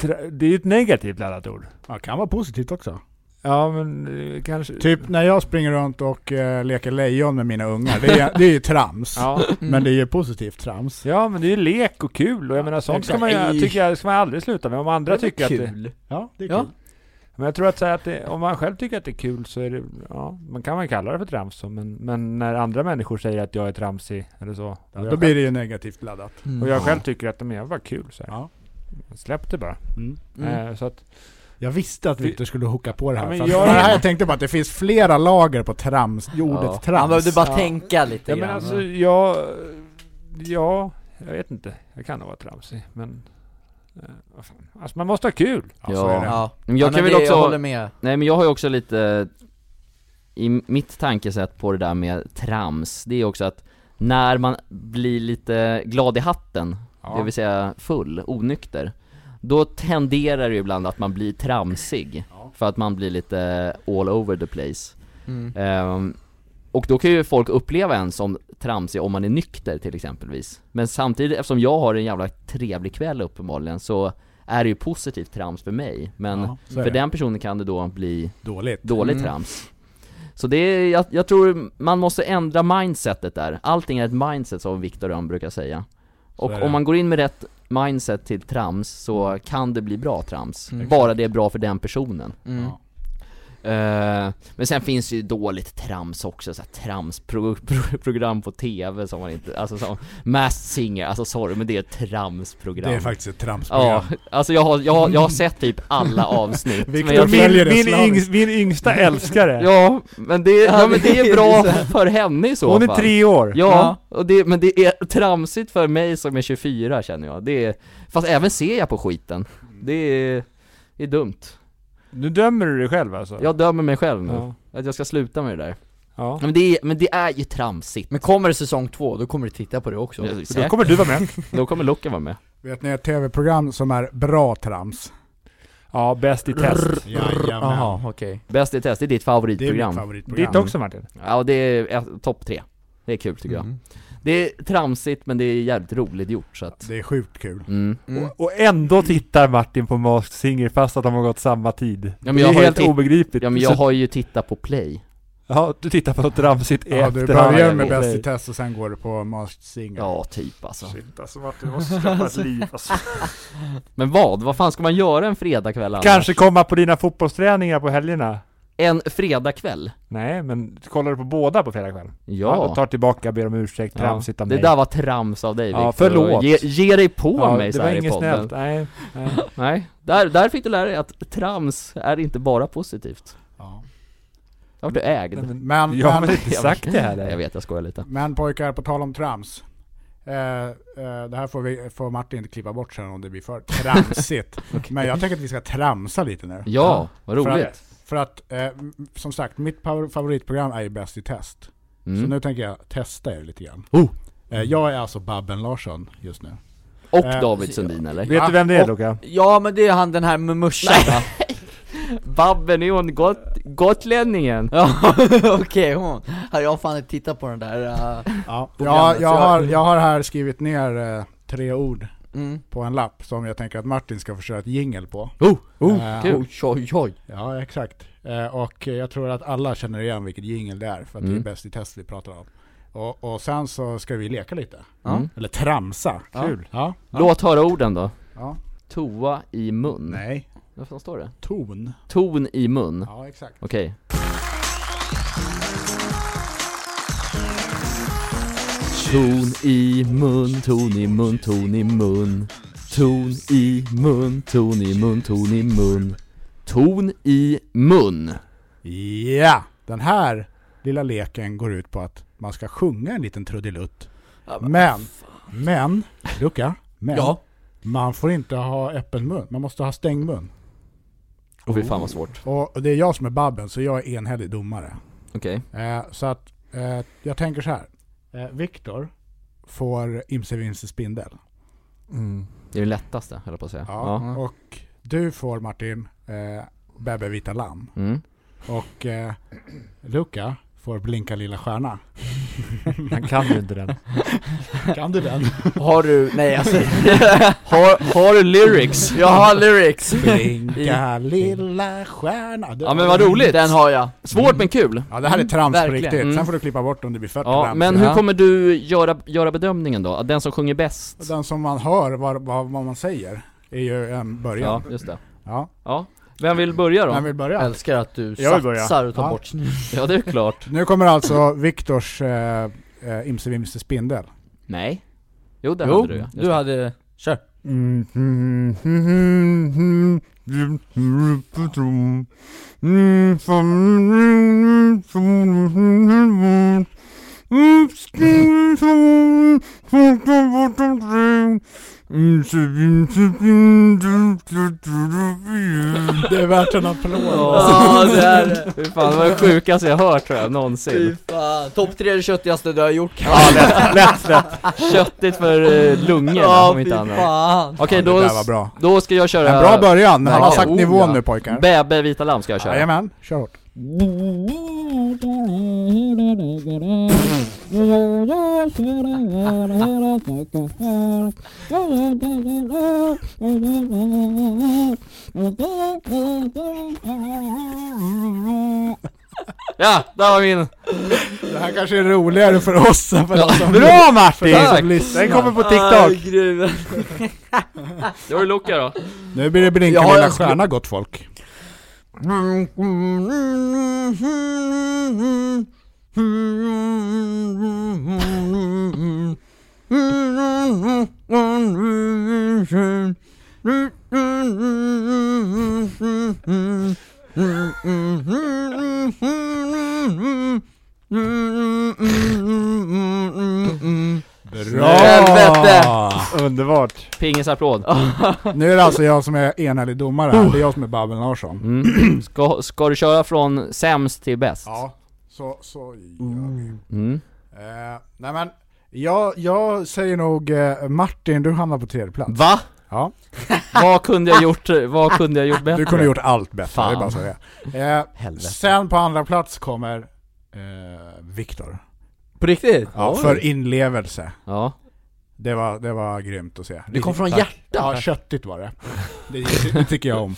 Speaker 1: tra- det är ju ett negativt laddat ord.
Speaker 3: ja, kan vara positivt också.
Speaker 1: Ja, men eh, kanske...
Speaker 3: Typ när jag springer runt och eh, leker lejon med mina ungar, det är, det är ju trams.
Speaker 1: Ja.
Speaker 4: Mm.
Speaker 3: Men det är ju positivt trams.
Speaker 1: ja, men det är ju lek och kul och jag menar sånt ska man ju,
Speaker 4: Nej.
Speaker 1: tycker jag, ska man aldrig sluta med. Om andra tycker att det,
Speaker 4: kul
Speaker 2: Mm.
Speaker 3: Ja, det är
Speaker 4: Ja.
Speaker 3: kul.
Speaker 1: Men jag tror att, så här, att det, om man själv tycker att det är kul så är det, ja, man kan man kalla det för trams så, men, men när andra människor säger att jag är tramsig eller så. Och jag,
Speaker 3: Då
Speaker 1: själv,
Speaker 3: blir det ju negativt laddat.
Speaker 4: Mm.
Speaker 1: och
Speaker 2: Mm.
Speaker 1: jag själv tycker att de är bara kul så här.
Speaker 3: Ja.
Speaker 1: Släpp det bara.
Speaker 4: Mm.
Speaker 1: Eh, så att,
Speaker 3: Jag visste att Victor skulle hooka på det här.
Speaker 1: Ja, men
Speaker 3: för att,
Speaker 1: jag-
Speaker 3: det här jag tänkte bara att det finns flera lager på trams, i ordet
Speaker 2: Ja.
Speaker 4: Han
Speaker 3: trams.
Speaker 4: behövde bara
Speaker 1: Ja.
Speaker 4: tänka lite
Speaker 1: ja,
Speaker 4: grann
Speaker 1: men alltså jag, ja, jag vet inte. Jag kan nog vara tramsig men, eh, vad fan. alltså man måste ha kul.
Speaker 3: Ja, så är det.
Speaker 4: Ja,
Speaker 2: Men
Speaker 4: Ja,
Speaker 2: jag kan
Speaker 4: men
Speaker 2: väl
Speaker 4: det,
Speaker 2: också...
Speaker 4: jag håller med
Speaker 2: Nej men jag har ju också lite, i mitt tankesätt på det där med trams, det är också att när man blir lite glad i hatten, det vill säga full, onykter, då tenderar det ju ibland att man blir tramsig, för att man blir lite all over the place.
Speaker 4: Mm.
Speaker 2: Ehm, och då kan ju folk uppleva en som tramsig om man är nykter till exempelvis. Men samtidigt, eftersom jag har en jävla trevlig kväll uppenbarligen, så är det ju positivt trams för mig. Men
Speaker 3: Ja, så är
Speaker 2: för
Speaker 3: det.
Speaker 2: den personen kan det då bli
Speaker 3: Dåligt.
Speaker 2: dåligt
Speaker 4: Mm.
Speaker 2: trams. Så det är, jag, jag tror man måste ändra mindsetet där. Allting är ett mindset som Viktor Rönn brukar säga.
Speaker 3: är
Speaker 2: Och
Speaker 3: det. Mm.
Speaker 2: om man går in med rätt mindset till trams så kan det bli bra trams.
Speaker 4: Mm.
Speaker 2: Bara det är bra för den personen.
Speaker 4: Mm.
Speaker 3: Ja.
Speaker 2: Eh, men sen finns ju dåligt trams också, såhär tramsprogram på TV som man inte, alltså som Masked Singer, alltså sorry men det är ett tramsprogram.
Speaker 3: Det är faktiskt ett tramsprogram.
Speaker 2: Ja, alltså jag har, jag har, jag har sett typ alla avsnitt. men
Speaker 3: Viktor
Speaker 2: jag-
Speaker 1: Min,
Speaker 3: Följer det
Speaker 1: min,
Speaker 3: slaviskt.
Speaker 1: yngst, min yngsta älskare.
Speaker 2: Ja, men det,
Speaker 4: Ja,
Speaker 2: ja, men det är
Speaker 4: det är
Speaker 2: bra
Speaker 4: så här.
Speaker 2: för henne i så
Speaker 1: Hon är
Speaker 2: fall.
Speaker 1: tre år.
Speaker 2: Ja, och det, men det är tramsigt för mig som är 24 känner jag. Det är, fast även ser jag på skiten. Det är, det är dumt.
Speaker 1: Nu dömer du dig själv alltså?
Speaker 2: Jag dömer mig själv nu.
Speaker 1: Ja.
Speaker 2: Att jag ska sluta med det där.
Speaker 1: ja.
Speaker 2: Men det är, men det är ju tramsigt.
Speaker 4: Men kommer det säsong två, då kommer du titta på det också
Speaker 1: Då
Speaker 2: Säkert.
Speaker 1: kommer du vara med.
Speaker 2: Då kommer Luca vara med.
Speaker 3: Vet ni ett tv-program som är bra trams?
Speaker 1: Ja, bäst i test.
Speaker 4: Jaha, okej
Speaker 2: Bäst i test, det är ditt
Speaker 3: Det är mitt
Speaker 2: favoritprogram.
Speaker 3: favoritprogram.
Speaker 1: Ditt också Martin?
Speaker 2: ja, det är ett- topp tre. Det är kul tycker jag.
Speaker 3: Mm.
Speaker 2: Det är tramsigt men det är jävligt roligt gjort så att,
Speaker 3: Det är sjukt kul.
Speaker 2: mm.
Speaker 4: Mm.
Speaker 1: Och, och ändå tittar Martin på Masked Singer fast att de har gått samma tid.
Speaker 2: men
Speaker 1: det
Speaker 2: jag
Speaker 1: är
Speaker 2: har ju
Speaker 1: helt
Speaker 2: titt-
Speaker 1: obegripligt.
Speaker 2: Ja men jag
Speaker 1: Så-
Speaker 2: har ju tittat på play
Speaker 1: ja, du tittar på ett ramsigt
Speaker 3: Ja, du
Speaker 1: efterhand.
Speaker 3: börjar med
Speaker 2: Ja,
Speaker 3: Bäst i test och sen går du på Masked Singer.
Speaker 2: Ja typ alltså
Speaker 1: Shit alltså Martin, du måste skaffa ett liv alltså.
Speaker 2: Men vad? Vad fan ska man göra en fredagkväll annars?
Speaker 1: Kanske komma på dina fotbollsträningar på helgerna?
Speaker 2: En fredagkväll?
Speaker 1: Nej, men kollar du på båda på fredagskvällen?
Speaker 2: Ja,
Speaker 1: Jag tar tillbaka, ber om ursäkt, tramsigt av
Speaker 2: Det
Speaker 1: mig.
Speaker 2: där var trams av dig
Speaker 1: Ja,
Speaker 2: Viktor.
Speaker 1: förlåt.
Speaker 2: Ge, ge dig på
Speaker 1: ja,
Speaker 2: mig
Speaker 1: Det
Speaker 2: så
Speaker 1: var
Speaker 2: här i
Speaker 1: inget
Speaker 2: podden
Speaker 1: snällt, nej. nej.
Speaker 2: Nej, där, där fick du lära dig att trams är inte bara positivt
Speaker 3: Ja.
Speaker 2: Där vart du ägd
Speaker 1: Nej, men,
Speaker 3: Men,
Speaker 1: jag har
Speaker 3: men,
Speaker 1: väl inte sagt Mm. det här
Speaker 2: Jag
Speaker 1: än.
Speaker 2: vet, jag skojar lite
Speaker 3: men pojkar, på tal om trams. Eh, eh, det här får, vi, får Martin klippa bort sen om det blir för tramsigt. Men jag tänker att vi ska tramsa lite nu.
Speaker 2: Ja, vad
Speaker 3: För att-
Speaker 2: roligt!
Speaker 3: För att, eh, m- som sagt, mitt favor- favoritprogram är ju Bäst i test. Så
Speaker 2: Mm.
Speaker 3: nu tänker jag testa er lite grann.
Speaker 2: Oh!
Speaker 3: Eh, jag är alltså Babben Larsson just nu.
Speaker 2: Och
Speaker 3: Eh,
Speaker 2: David Sundin eller?
Speaker 1: Vet du vem det är
Speaker 4: och-
Speaker 1: Luka?
Speaker 4: Ja men det är han den här med muschan va?
Speaker 2: Babben är hon got, gotlänningen!
Speaker 4: Ja okej hon, Ja, jag har fan inte tittat på den där eh,
Speaker 3: Ja,
Speaker 4: programmet,
Speaker 3: jag,
Speaker 4: så jag-
Speaker 3: jag, har, jag har här skrivit ner eh, tre ord
Speaker 4: mm.
Speaker 3: på en lapp som jag tänker att Martin ska försöka ett jingel på.
Speaker 2: Oh!
Speaker 3: Oh,
Speaker 2: kul.
Speaker 4: Oj oj oj
Speaker 3: Ja, exakt. Eh, Och jag tror att alla känner igen vilket jingel det är, för att det
Speaker 2: Mm.
Speaker 3: är Bäst i test vi pratar om. Och, och sen så ska vi leka lite.
Speaker 2: Mm.
Speaker 3: Eller tramsa.
Speaker 4: Ja.
Speaker 1: Kul.
Speaker 3: Ja.
Speaker 2: Låt höra orden då
Speaker 3: ja.
Speaker 2: Toa i mun
Speaker 3: Nej.
Speaker 2: Vad fan står det?
Speaker 3: Ton.
Speaker 2: Ton i mun
Speaker 3: Ja, exakt.
Speaker 2: Okej Ton i mun, ton i mun, ton i mun Ton i mun, ton i mun, ton i mun Ton i mun
Speaker 3: Ja! Den här lilla leken går ut på att man ska sjunga en liten trudelutt.
Speaker 4: Ja, men-
Speaker 3: Men, men, Luca, men,
Speaker 4: Ja,
Speaker 3: man får inte ha öppen mun. Man måste ha stängd mun.
Speaker 2: Åh fy fan vad svårt
Speaker 3: Och och det är jag som är Babben, så jag är enhällig domare.
Speaker 2: Okej,
Speaker 3: Eh, så att eh, jag tänker så här. Eh, Viktor får Imse Vimse Spindel.
Speaker 2: det är det lättaste höll jag på att säga Ja,
Speaker 3: Ja. Och du får Martin eh, Bäbe Vita Lamm.
Speaker 2: mm.
Speaker 3: Och eh, Luca får Blinka Lilla Stjärna.
Speaker 1: Han kan ju inte den.
Speaker 3: Kan du den?
Speaker 4: har du, nej alltså
Speaker 2: har, har du lyrics?
Speaker 4: Jag har lyrics!
Speaker 3: Blinka Lilla Stjärna. Du-
Speaker 2: Ja men vad roligt!
Speaker 4: Den har jag
Speaker 2: Svårt men kul!
Speaker 3: Ja det här är trams på
Speaker 4: Verkligen.
Speaker 3: riktigt.
Speaker 2: Mm.
Speaker 3: Sen får du klippa bort om det blir för
Speaker 2: Ja,
Speaker 3: trams.
Speaker 2: men hur
Speaker 4: Ja.
Speaker 2: kommer du göra, göra bedömningen då? Att Den som sjunger bäst?
Speaker 3: Den som man hör vad, vad, vad man säger är ju en början.
Speaker 2: Ja, just det
Speaker 3: Ja.
Speaker 2: Ja, vem vill börja då?
Speaker 3: Vem vill börja?
Speaker 4: Älskar att du
Speaker 1: Jag vill börja.
Speaker 4: satsar och tar
Speaker 3: Ja.
Speaker 4: bort snus
Speaker 2: Ja det är klart
Speaker 3: Nu kommer alltså Viktors eh, eh, Imse Vimse Spindel.
Speaker 2: Nej Jo det
Speaker 4: Jo,
Speaker 2: hade du ja. Just
Speaker 4: du
Speaker 2: det.
Speaker 4: hade, kör!
Speaker 3: Det är värt en applåd.
Speaker 2: Ja det här, fy fan det var det sjukaste jag hört tror jag någonsin
Speaker 4: fan, topp tre är det köttigaste du har gjort
Speaker 1: Ja, lätt, lätt, lätt.
Speaker 2: Köttigt för eh, lungorna om inte annat
Speaker 4: fan!
Speaker 2: Okej
Speaker 3: det
Speaker 2: då,
Speaker 3: där var bra.
Speaker 2: då ska jag köra
Speaker 3: En bra början, han har
Speaker 2: verkligen.
Speaker 3: sagt
Speaker 2: Oh,
Speaker 3: nivån
Speaker 2: ja.
Speaker 3: nu pojkar.
Speaker 2: Bäbe Vita Lamm ska jag köra
Speaker 3: Jajamän, kör hårt.
Speaker 2: Ja, där var min!
Speaker 3: Det här kanske är roligare för oss än för de som
Speaker 1: Bra Martin!
Speaker 2: Tack.
Speaker 1: Den
Speaker 3: lyssnar.
Speaker 1: kommer på TikTok.
Speaker 2: Det var ju Luca då
Speaker 3: Nu blir det Blinka
Speaker 4: Jag har
Speaker 3: lilla
Speaker 4: en skru-
Speaker 3: stjärna gott folk. Bra!
Speaker 4: Helvete!
Speaker 1: Underbart.
Speaker 2: Pingens applåd
Speaker 3: Nu är det alltså jag som är enhällig domare här. Det är jag som är Babben Larsson.
Speaker 2: mm. ska, ska du köra från sämst till bäst?
Speaker 3: Ja, så, så gör vi.
Speaker 2: Mm.
Speaker 3: Eh, nej men, jag, jag säger nog eh, Martin, du hamnar på tredje plats.
Speaker 2: Va?
Speaker 3: Ja.
Speaker 2: Vad kunde jag gjort, vad kunde jag gjort bättre?
Speaker 3: Du kunde gjort allt bättre,
Speaker 2: Fan.
Speaker 3: det är bara så det är. Eh,
Speaker 2: Helvete
Speaker 3: Sen på andra plats kommer eh, Viktor.
Speaker 4: På riktigt?
Speaker 3: Ja,
Speaker 4: Oj.
Speaker 3: för inlevelse.
Speaker 2: Ja,
Speaker 3: Det var, det var grymt att se.
Speaker 4: Det kom från
Speaker 2: Tack.
Speaker 3: Ja,
Speaker 4: hjärtat?
Speaker 3: köttigt var det. Det, det tycker jag om.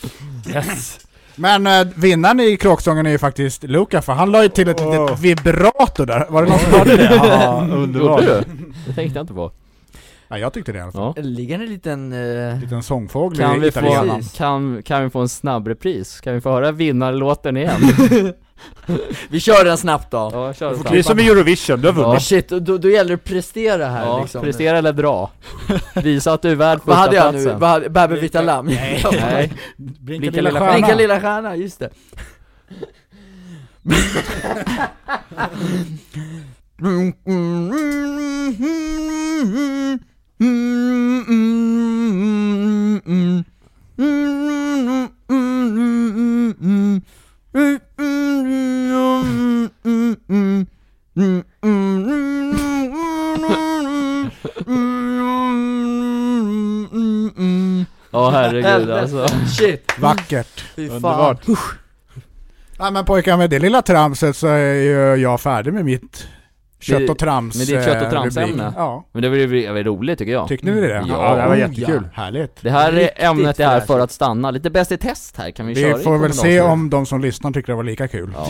Speaker 4: Yes!
Speaker 3: Men eh, vinnaren i kråksången är ju faktiskt Luca, för han la ju till ett
Speaker 1: Åh.
Speaker 3: litet vibrato där. Var det någon som hörde det?
Speaker 1: Ja, underbart.
Speaker 2: gjorde du? Det tänkte jag inte på.
Speaker 3: Ja, jag tyckte det i alla fall.
Speaker 2: Ja.
Speaker 4: Ligger en liten... eh,
Speaker 3: Liten sångfågel
Speaker 2: Kan
Speaker 3: i
Speaker 2: vi,
Speaker 3: italienaren.
Speaker 2: få,
Speaker 4: Precis.
Speaker 2: kan, kan vi få en snabb repris? Kan vi få höra vinnarlåten igen?
Speaker 4: Vi kör den snabbt då!
Speaker 2: Ja, kör
Speaker 1: Det är
Speaker 2: fram.
Speaker 1: som i Eurovision, du har
Speaker 2: Ja.
Speaker 4: Ja.
Speaker 1: vunnit.
Speaker 4: Shit, då, då gäller det att prestera här
Speaker 2: Ja,
Speaker 4: liksom
Speaker 2: prestera eller dra. Visa att du är värd
Speaker 4: Vad
Speaker 2: första
Speaker 4: hade jag nu?
Speaker 2: platsen.
Speaker 4: Vad hade- Bäbe Vita Lamm?
Speaker 2: Nej,
Speaker 3: Blinka
Speaker 2: Blinka lilla
Speaker 3: stjärna.
Speaker 4: Blinka lilla stjärna, just det
Speaker 3: Mm,
Speaker 2: ja herregud alltså.
Speaker 4: Shit,
Speaker 3: Vackert.
Speaker 4: fy fan
Speaker 1: Underbart.
Speaker 3: Ja men pojkar, med det lilla tramset så är ju jag färdig med mitt kött och trams
Speaker 2: med ditt kött och
Speaker 3: eh, rubrik.
Speaker 2: tramsämne.
Speaker 3: Ja.
Speaker 2: Men det var ju det var ju roligt tycker jag.
Speaker 3: Tyckte ni det?
Speaker 2: Ja,
Speaker 1: det här var
Speaker 3: Oh,
Speaker 1: jättekul.
Speaker 3: ja. Härligt.
Speaker 2: Det här
Speaker 4: Riktigt
Speaker 2: är ämnet är här
Speaker 4: fräscht.
Speaker 2: för att stanna. Lite bäst i test här kan vi, köra
Speaker 3: Vi
Speaker 2: i
Speaker 3: får väl se
Speaker 2: kombinator?
Speaker 3: om de som lyssnar tyckte det var lika kul.
Speaker 2: Ja.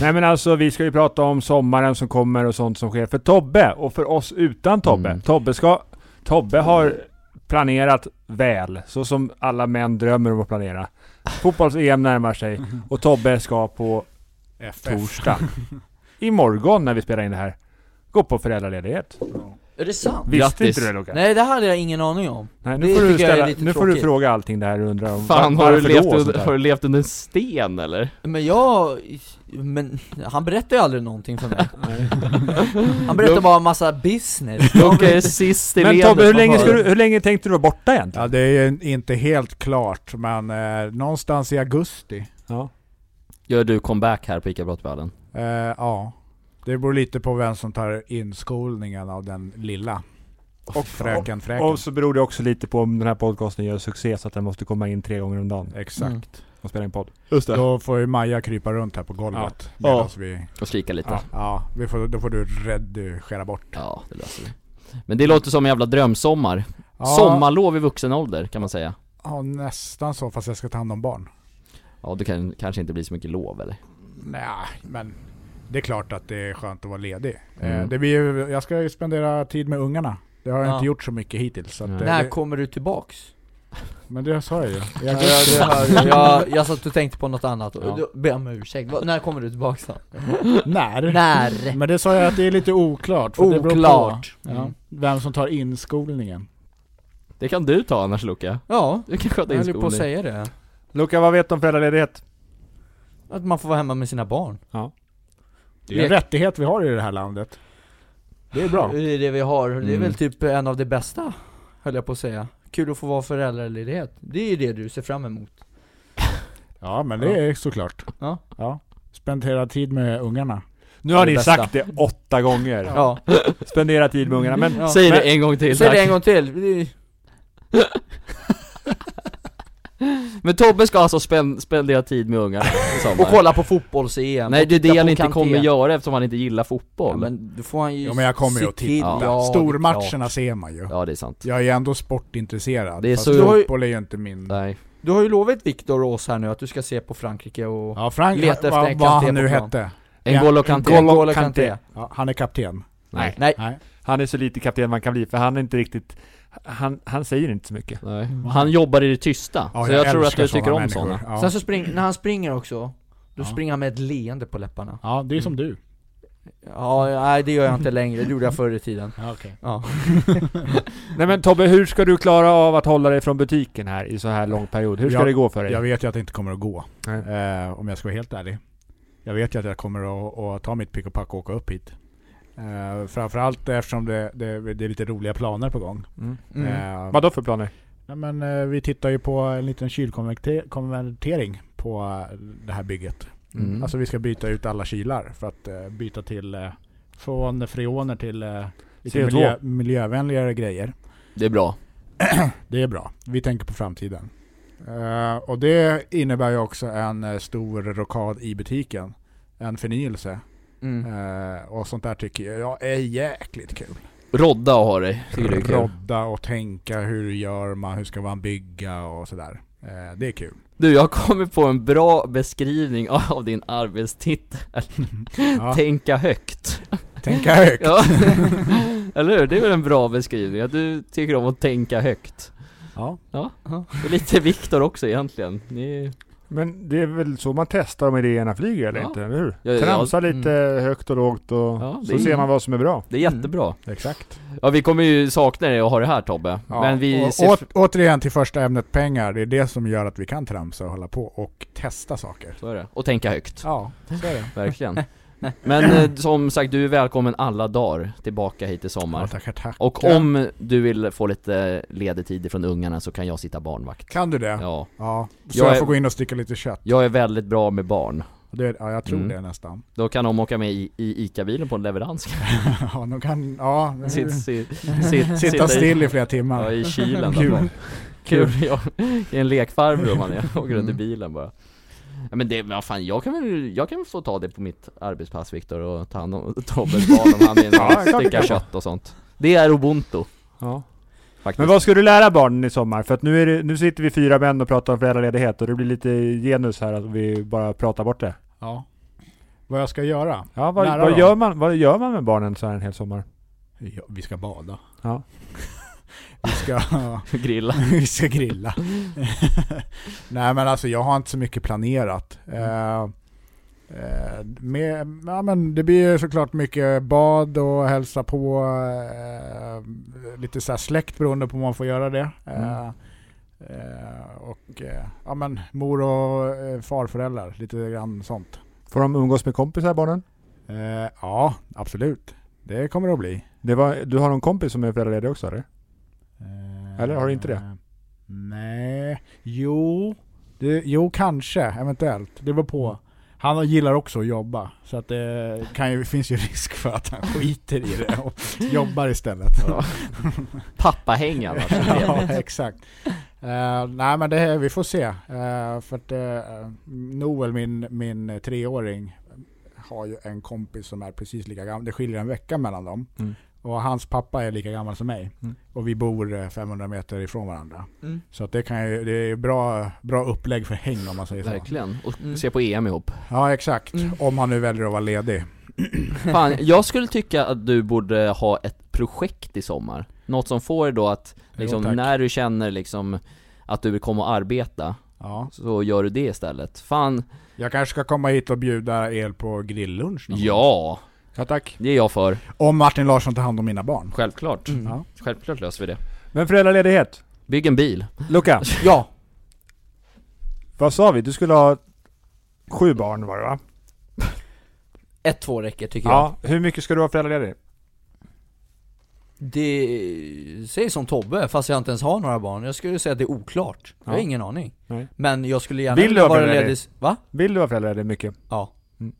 Speaker 1: Nej men alltså vi ska ju prata om sommaren som kommer och sånt som sker för Tobbe och för oss utan Tobbe.
Speaker 2: Mm.
Speaker 1: Tobbe ska... Tobbe har planerat väl, så som alla män drömmer om att planera. Fotbolls-EM närmar sig och Tobbe ska på
Speaker 3: FF.
Speaker 1: torsdag. Imorgon när vi spelar in det här. Gå på föräldraledighet.
Speaker 4: Är det sant?
Speaker 1: Visste
Speaker 2: Grattis.
Speaker 1: inte du det Luka?
Speaker 4: Nej det hade jag ingen aning om
Speaker 1: Nej, nu
Speaker 4: det
Speaker 1: får, du,
Speaker 4: tycker jag är
Speaker 1: ställa,
Speaker 4: lite
Speaker 1: nu får du
Speaker 4: tråkigt.
Speaker 1: fråga allting det här du undrar om.
Speaker 2: Fan
Speaker 1: Var-
Speaker 2: har du,
Speaker 1: varför
Speaker 2: levt
Speaker 1: då och sånt
Speaker 2: under,
Speaker 1: där.
Speaker 2: har du levt under en sten eller?
Speaker 4: Men jag, men han berättar ju aldrig någonting för mig Han berättar
Speaker 2: Lugn.
Speaker 4: bara en massa business
Speaker 2: Loke är sist i
Speaker 1: Men
Speaker 2: ledet,
Speaker 1: Tobbe, hur
Speaker 2: vad
Speaker 1: länge,
Speaker 2: fan.
Speaker 1: ska du, hur länge tänkte du vara borta egentligen?
Speaker 3: Ja, det är ju inte helt klart, men eh, någonstans i augusti.
Speaker 1: Ja.
Speaker 2: Gör du comeback här på ICA Brottballen?
Speaker 3: Eh, ja. Det beror lite på vem som tar inskolningen av den lilla. Och fröken Fräken.
Speaker 1: Och så beror det också lite på om den här podcasten gör succé så att den måste komma in tre gånger om dagen
Speaker 3: Exakt.
Speaker 1: och spela in podd.
Speaker 2: Just
Speaker 3: Då får ju Maja krypa runt här på golvet.
Speaker 1: Ja.
Speaker 3: Medan vi...
Speaker 2: Och skrika lite.
Speaker 1: Ja.
Speaker 2: Ja.
Speaker 3: Ja, vi får, då får du redigera bort.
Speaker 2: det löser vi. Men det låter som en jävla drömsommar.
Speaker 3: Ja,
Speaker 2: Sommarlov i vuxen ålder kan man säga.
Speaker 3: Ja, nästan så, fast jag ska ta hand om barn.
Speaker 2: Ja, det kan kanske inte blir så mycket lov eller?
Speaker 3: Nej, men det är klart att det är skönt att vara ledig.
Speaker 2: Mm.
Speaker 3: Eh, det blir, ju- jag ska ju spendera tid med ungarna. Det har jag
Speaker 4: Ja.
Speaker 3: inte gjort så mycket hittills. Så att,
Speaker 2: Nej.
Speaker 3: eh,
Speaker 4: När
Speaker 3: det,
Speaker 4: kommer du tillbaks?
Speaker 3: men det sa jag ju. I
Speaker 4: Ja,
Speaker 3: augusti.
Speaker 4: det hör jag. jag, jag satt och tänkte på något annat,
Speaker 2: Ja.
Speaker 4: och då ber jag om ursäkt, Va, när kommer du tillbaks då?
Speaker 3: När?
Speaker 4: När?
Speaker 3: Men det sa jag att det är lite oklart. För Det beror
Speaker 4: Oklart. Mm.
Speaker 3: på, ja, vem som tar inskolningen.
Speaker 2: Det kan du ta annars Luca.
Speaker 4: Ja,
Speaker 2: Du kan sköta
Speaker 4: jag höll ju på att
Speaker 2: inskolning.
Speaker 4: säga det
Speaker 1: Luca, vad vet du om föräldraledighet?
Speaker 4: Att man får vara hemma med sina barn
Speaker 3: Det är en
Speaker 4: Lek-
Speaker 3: rättighet vi har i det här landet. Det är bra.
Speaker 4: Det är det vi har, det är
Speaker 2: Mm.
Speaker 4: väl typ en av det bästa, höll jag på att säga Kul att få vara föräldraledighet, det är ju det du ser fram emot
Speaker 3: Ja, men det är såklart.
Speaker 4: Ja.
Speaker 3: ja. Spendera tid med ungarna.
Speaker 1: Nu har
Speaker 4: Det
Speaker 1: ni
Speaker 4: bästa.
Speaker 1: sagt det åtta gånger.
Speaker 4: Ja,
Speaker 1: Spendera tid med ungarna. Men
Speaker 4: ja.
Speaker 2: Säg
Speaker 1: Men-
Speaker 2: det en gång till
Speaker 4: Säg
Speaker 2: tack.
Speaker 4: det en gång till! Det-
Speaker 2: Men Tobbe ska alltså spen- spendera tid med ungar i sommar.
Speaker 4: Och kolla på fotbolls-EM
Speaker 2: Nej det är
Speaker 4: Titta
Speaker 2: det
Speaker 4: på
Speaker 2: han inte
Speaker 4: Kanté.
Speaker 2: kommer göra eftersom han inte gillar fotboll.
Speaker 4: ja, men då får han ju
Speaker 3: Ja, men jag kommer ju
Speaker 4: se
Speaker 3: att titta.
Speaker 4: till- ja, det är klart.
Speaker 3: Stormatcherna ser man ju.
Speaker 2: Ja, det är sant.
Speaker 3: Jag är ju ändå sportintresserad.
Speaker 2: Det är
Speaker 3: fast
Speaker 2: så-
Speaker 3: fotboll är ju inte min...
Speaker 2: Nej.
Speaker 4: Du har ju lovat Viktor och oss här nu att du ska se på Frankrike och
Speaker 3: Ja, Frank,
Speaker 4: Leta efter
Speaker 3: vad,
Speaker 4: en
Speaker 3: vad
Speaker 4: Kanté
Speaker 3: han nu
Speaker 4: på plan.
Speaker 3: hette.
Speaker 2: N'Golo Kanté.
Speaker 1: N'Golo
Speaker 4: N'Golo
Speaker 1: Kanté.
Speaker 4: Kanté
Speaker 3: Ja, han är kapten.
Speaker 2: Nej.
Speaker 4: Nej,
Speaker 3: Nej.
Speaker 1: han är så lite kapten man kan bli för han är inte riktigt... Han, han säger inte så mycket.
Speaker 2: Nej. Han jobbar i det tysta.
Speaker 3: Ja,
Speaker 2: så jag, tror att
Speaker 3: älskar
Speaker 2: du tycker om
Speaker 3: människor.
Speaker 2: sådana.
Speaker 3: Ja.
Speaker 4: sen så spring, när han springer också Då
Speaker 3: Ja.
Speaker 4: springer han med ett leende på läpparna
Speaker 3: ja, det är som du.
Speaker 4: Ja, nej det gör jag inte längre, det gjorde jag förr i tiden
Speaker 3: Ja, okej.
Speaker 4: Ja,
Speaker 1: Nej men Tobbe, hur ska du klara av att hålla dig från butiken här i så här lång period? Hur ska
Speaker 3: Jag-
Speaker 1: det gå för dig?
Speaker 3: Jag vet ju att det inte kommer att gå.
Speaker 1: Nej.
Speaker 3: Eh, om jag ska vara helt ärlig. Jag vet ju att jag kommer att, att ta mitt pick och pack och åka upp hit. Eh, framförallt eftersom det, det, det är lite roliga planer på gång.
Speaker 1: Mm.
Speaker 4: mm.
Speaker 3: Eh,
Speaker 1: Vadå för planer?
Speaker 3: nej, men, eh, vi tittar ju på en liten kylkonvertering på eh, det här bygget.
Speaker 2: Mm.
Speaker 3: Alltså vi ska byta ut alla kylar för att eh, byta till eh, från freoner till eh, lite
Speaker 1: CO2.
Speaker 3: miljö, miljövänligare grejer.
Speaker 2: Det är bra.
Speaker 3: Det är bra. Vi tänker på framtiden. Eh, och det innebär ju också en eh, stor rockad i butiken. En förnyelse.
Speaker 4: Mm.
Speaker 3: Eh, och sånt där tycker jag är jäkligt kul.
Speaker 2: Rodda och ha dig, tycker du är kul.
Speaker 3: Rodda och tänka, hur gör man, hur ska man bygga och sådär. Eh, det är kul.
Speaker 2: Du, jag har kommit på en bra beskrivning av din arbetstitel.
Speaker 3: Ja,
Speaker 2: Tänka högt.
Speaker 3: tänka högt.
Speaker 2: Ja. Eller hur? Det är väl en bra beskrivning, att du tycker om att tänka högt.
Speaker 3: Ja.
Speaker 2: Ja, och lite Viktor också egentligen. Ni...
Speaker 1: Men det är väl så man testar om idéerna flyger eller
Speaker 2: Ja.
Speaker 1: inte, eller hur?
Speaker 2: Ja, Mm. ja,
Speaker 1: Tramsa lite högt och lågt och
Speaker 2: Ja, det
Speaker 1: så
Speaker 2: är-
Speaker 1: ser man vad som är bra.
Speaker 2: Det är
Speaker 3: Mm.
Speaker 2: jättebra.
Speaker 1: Exakt.
Speaker 2: Ja, vi kommer ju sakna dig och ha det här Tobbe.
Speaker 3: Ja,
Speaker 2: Men vi
Speaker 3: och,
Speaker 2: ser...
Speaker 3: åt, återigen till första ämnet pengar, det är det som gör att vi kan tramsa och hålla på och testa saker.
Speaker 2: Så är det. Och tänka högt.
Speaker 3: Ja, så är det.
Speaker 2: Verkligen. Men eh, som sagt, du är välkommen alla dagar tillbaka hit i
Speaker 3: Ja,
Speaker 2: sommar.
Speaker 3: tackar, tackar.
Speaker 2: Och om du vill få lite ledig tid från ungarna så kan jag sitta barnvakt.
Speaker 3: Kan du det? Ja.
Speaker 2: Ja.
Speaker 3: Så
Speaker 2: Jag
Speaker 3: jag,
Speaker 2: är-
Speaker 3: får gå in och sticka lite kött.
Speaker 2: Jag är väldigt bra med barn.
Speaker 3: Det, ja, jag tror
Speaker 2: Mm.
Speaker 3: det nästan.
Speaker 2: Då kan de åka med i, i ICA-bilen på en leverans.
Speaker 3: ja, de kan, ja,
Speaker 2: Sitt, sit, sit,
Speaker 3: sitta
Speaker 2: i-
Speaker 3: still i flera
Speaker 2: Ja,
Speaker 3: timmar.
Speaker 2: i kylen
Speaker 3: Kul.
Speaker 2: Kul. Kul, ja. Det är en lekfarbror man är, åker runt i bilen bara ja, men det, men vad fan, jag kan väl, jag kan väl få ta det på mitt arbetspass Viktor och ta hand om Tobbes barn om han vill
Speaker 1: Ja, klart du
Speaker 2: stycka
Speaker 1: kan.
Speaker 2: kött och sånt Det är ubuntu
Speaker 1: Ja.
Speaker 2: faktiskt
Speaker 1: Men vad ska du lära barnen i sommar? För att nu, är det, nu sitter vi fyra män och pratar om föräldraledighet och det blir lite genus här att vi bara pratar bort det.
Speaker 3: Ja. Vad jag ska göra?
Speaker 1: Ja, vad,
Speaker 3: Lära
Speaker 1: vad,
Speaker 3: dem.
Speaker 1: gör man, vad gör man med barnen så här en hel sommar?
Speaker 3: Ja, vi ska bada.
Speaker 1: Ja.
Speaker 3: vi, ska,
Speaker 2: Grilla
Speaker 3: vi ska grilla. Nej men alltså jag har inte så mycket planerat. Eh, eh, med, ja, men det blir ju såklart mycket bad och hälsa på eh, lite så här släkt beroende på om man får göra det. Eh, eh, och eh, ja, men mor och eh, farföräldrar, lite grann sånt.
Speaker 1: Får de umgås med kompisar barnen?
Speaker 3: Eh, ja, absolut. Det kommer det att bli.
Speaker 1: Det var, du har någon kompis som är föräldraledig också eller?
Speaker 3: Eh,
Speaker 1: Eller har du inte det?
Speaker 3: Nej, jo. Det, jo, kanske. Eventuellt. Det beror
Speaker 1: Mm.
Speaker 3: på. Han gillar också att jobba, så att det kan ju, finns ju risk för att han skiter i det och jobbar istället.
Speaker 2: ja. Pappahäng annars, det är
Speaker 3: ja,
Speaker 2: trevligt.
Speaker 3: exakt. Eh, nej men det, vi får se. Eh, för att eh, Noel, min, min treåring, har ju en kompis som är precis lika gammal. Det skiljer en vecka mellan dem.
Speaker 1: Mm.
Speaker 3: Och hans pappa är lika gammal som mig.
Speaker 1: Mm.
Speaker 3: Och vi bor eh, 500 meter ifrån varandra.
Speaker 4: Mm.
Speaker 3: Så att det, kan ju, det är ju bra, bra upplägg för häng om man säger så.
Speaker 2: Verkligen, och
Speaker 4: Mm.
Speaker 2: se på EM ihop
Speaker 3: Ja exakt.
Speaker 4: Mm.
Speaker 3: Om han nu väljer att vara ledig.
Speaker 2: Fan, jag skulle tycka att du borde ha ett projekt i sommar Något som får dig då att, liksom,
Speaker 3: tack.
Speaker 2: när du känner liksom att du vill komma och arbeta
Speaker 3: Ja.
Speaker 2: Så gör du det istället. Fan,
Speaker 3: Jag kanske ska komma hit och bjuda er på grilllunch någon gång.
Speaker 2: ja!
Speaker 1: Ja tack.
Speaker 2: Det är jag för.
Speaker 3: Om Martin Larsson tar hand om mina barn.
Speaker 2: Självklart.
Speaker 4: Mm.
Speaker 3: Ja.
Speaker 2: Självklart löser vi det.
Speaker 1: Men föräldraledighet?
Speaker 2: Bygg en bil.
Speaker 1: Luca,
Speaker 4: Ja,
Speaker 1: vad sa vi? Du skulle ha sju barn var det va?
Speaker 4: ett, två räcker tycker jag
Speaker 1: Ja. Hur mycket ska du vara föräldraledig?
Speaker 4: Det säger som Tobbe, fast jag inte ens har några barn. Jag skulle säga att det är oklart. Jag har
Speaker 1: Ja.
Speaker 4: ingen aning.
Speaker 1: Nej.
Speaker 4: Men jag skulle gärna
Speaker 1: Vill du
Speaker 4: vilja
Speaker 1: ha
Speaker 4: vara
Speaker 1: föräldraledig?
Speaker 4: ledig... Va?
Speaker 1: Vill du vara föräldraledig mycket?
Speaker 4: Ja.
Speaker 1: Mm.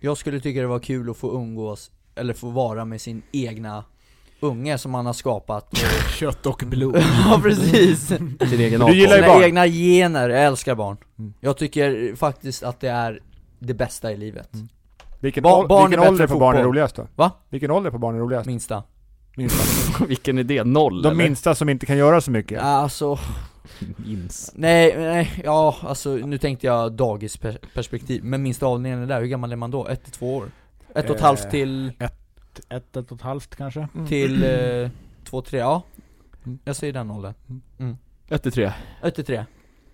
Speaker 4: Jag skulle tycka det var kul att få umgås, eller få vara med sin egna unge som man har skapat.
Speaker 3: Kött och blod.
Speaker 4: ja precis!
Speaker 2: Sin egen
Speaker 1: Du gillar ju
Speaker 4: Sina
Speaker 1: barn.
Speaker 4: egna gener, jag älskar barn.
Speaker 1: Mm.
Speaker 4: Jag tycker faktiskt att det är det bästa i livet.
Speaker 1: Mm. Vilken,
Speaker 4: Ba-
Speaker 1: ål-
Speaker 4: barn är
Speaker 1: vilken
Speaker 4: bättre
Speaker 1: ålder
Speaker 4: än
Speaker 1: på barn är
Speaker 4: fotboll.
Speaker 1: roligast då?
Speaker 4: Va?
Speaker 1: Vilken ålder på barn är roligast?
Speaker 4: Minsta.
Speaker 1: Minsta.
Speaker 2: Vilken idé? Noll
Speaker 1: De
Speaker 2: eller?
Speaker 1: minsta som inte kan göra så mycket?
Speaker 4: Alltså,
Speaker 2: Minst.
Speaker 4: nej, nej, ja alltså nu tänkte jag dagisperspektiv, men minsta avdelningen är där, hur gammal är man då? Ett till två år? Ett och ett
Speaker 3: Eh.
Speaker 4: halvt till,
Speaker 3: Ett, ett och ett halvt kanske.
Speaker 4: till eh, två, tre, ja.
Speaker 1: Mm.
Speaker 4: Jag säger den åldern.
Speaker 2: 1 till 3.
Speaker 4: Ett till tre.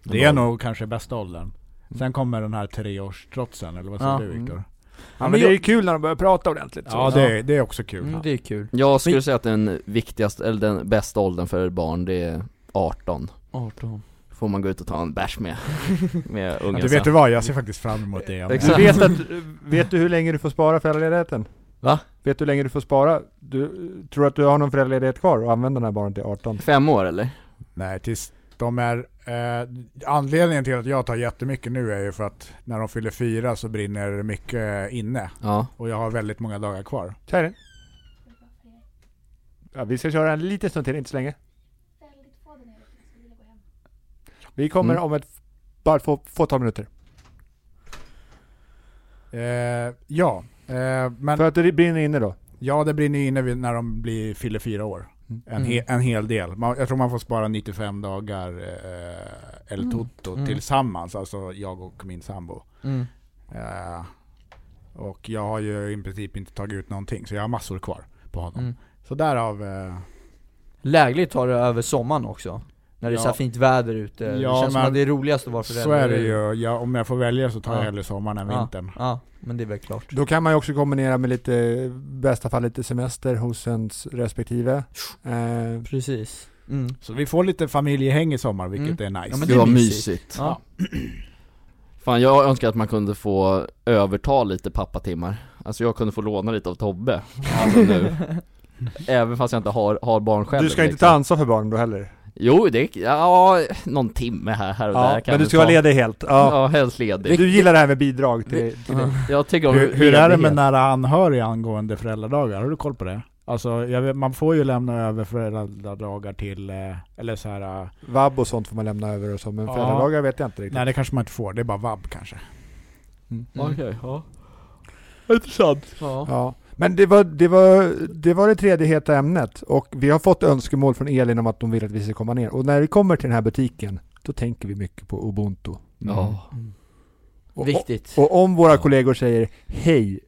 Speaker 3: Det är nog kanske bästa åldern. Sen kommer den här treårstrotsen, eller vad säger
Speaker 4: Ja.
Speaker 3: du Viktor?
Speaker 1: Ja, men
Speaker 4: men
Speaker 1: det är
Speaker 4: jag-
Speaker 1: ju kul när de börjar prata ordentligt.
Speaker 3: Ja,
Speaker 1: så.
Speaker 3: det, det är också kul.
Speaker 4: Mm, det är kul.
Speaker 2: Jag skulle säga att den viktigaste, eller den bästa åldern för ett barn, det är 18.
Speaker 4: 18.
Speaker 2: Får man gå ut och ta en bärs med, med
Speaker 3: Ja,
Speaker 2: ungen
Speaker 3: du
Speaker 2: sen.
Speaker 3: vet du vad, jag ser faktiskt fram emot det. Jag
Speaker 1: Du
Speaker 2: Exakt.
Speaker 3: med.
Speaker 1: vet, att, vet du hur länge du får spara föräldraledigheten?
Speaker 2: Va?
Speaker 1: Vet du hur länge du får spara? Du, eh, tror du att du har någon föräldraledighet kvar och använder den här barnen till 18?
Speaker 2: Fem år eller?
Speaker 3: Nej, tills de är... Eh, anledningen till att jag tar jättemycket nu är ju för att när de fyller fyra så brinner mycket inne.
Speaker 2: Ja.
Speaker 3: Och jag har väldigt många dagar kvar.
Speaker 1: Kärring? Ja, vi ska köra en liten stund till, inte så länge. Vi kommer
Speaker 2: Mm.
Speaker 1: om ett bara få, fåtal minuter.
Speaker 3: Eh, ja, eh, men
Speaker 1: För att det brinner inne då?
Speaker 3: ja det brinner ju inne vid- när de blir, fyller fyra år.
Speaker 1: Mm.
Speaker 3: En, he, en hel del. Man, jag tror man får spara 95 dagar eh, El Toto
Speaker 4: Mm.
Speaker 3: tillsammans, alltså jag och min sambo.
Speaker 4: Mm.
Speaker 3: Eh, och jag har ju i princip inte tagit ut någonting, så jag har massor kvar på honom.
Speaker 4: Mm.
Speaker 3: Så därav... Eh,
Speaker 4: Lägligt har det över sommaren också När det är
Speaker 3: Ja.
Speaker 4: så här fint väder ute, det
Speaker 3: Ja,
Speaker 4: känns som
Speaker 3: men-
Speaker 4: att det är roligast att vara förälder
Speaker 3: så är det ju. Jag, om jag får välja så tar
Speaker 4: Ja.
Speaker 3: jag hellre sommaren än
Speaker 4: Ja.
Speaker 3: vintern.
Speaker 4: Ja, men det är väl klart
Speaker 1: Då kan man ju också kombinera med lite, i bästa fall lite semester hos ens respektive. Eh,
Speaker 4: Precis mm.
Speaker 3: Så vi får lite familjehäng i sommar, vilket är nice.
Speaker 4: Ja, men
Speaker 2: Det
Speaker 4: Mm. är
Speaker 2: var
Speaker 4: mysigt.
Speaker 2: mysigt.
Speaker 4: ja.
Speaker 2: Fan jag önskar att man kunde få överta lite pappatimmar Alltså jag kunde få låna lite av Tobbe, alltså nu Även fast jag inte har, har barn själv liksom.
Speaker 1: du ska inte ta ansvar för barnen då heller?
Speaker 2: Jo det, ja, någon timme här, här och där
Speaker 1: Ja,
Speaker 2: kan
Speaker 1: men du
Speaker 2: vi
Speaker 1: ska
Speaker 2: ta.
Speaker 1: vara ledig helt? Ja.
Speaker 2: Ja, helst ledig
Speaker 1: Du gillar det här med bidrag till, till dig?
Speaker 2: Jag tycker om
Speaker 3: Hur, hur är det med
Speaker 2: ledighet.
Speaker 3: nära anhöriga angående föräldradagar? Har du koll på det? Alltså, jag vet, man får ju lämna över föräldradagar till, eh, eller så här. eh,
Speaker 1: Vab och sånt får man lämna över och så, men
Speaker 3: Ja.
Speaker 1: föräldradagar vet jag inte riktigt.
Speaker 3: Nej det kanske man inte får, det är bara vab kanske.
Speaker 4: Mm.
Speaker 2: Okej, ja Intressant
Speaker 4: Ja.
Speaker 1: Ja. Men det var, det, var, det var det tredje heta ämnet och vi har fått önskemål från Elin om att de vill att vi ska komma ner. Och när vi kommer till den här butiken, då tänker vi mycket på Ubuntu.
Speaker 2: Ja,
Speaker 3: Mm.
Speaker 1: Och,
Speaker 4: Viktigt
Speaker 1: och, och om våra kollegor säger hej,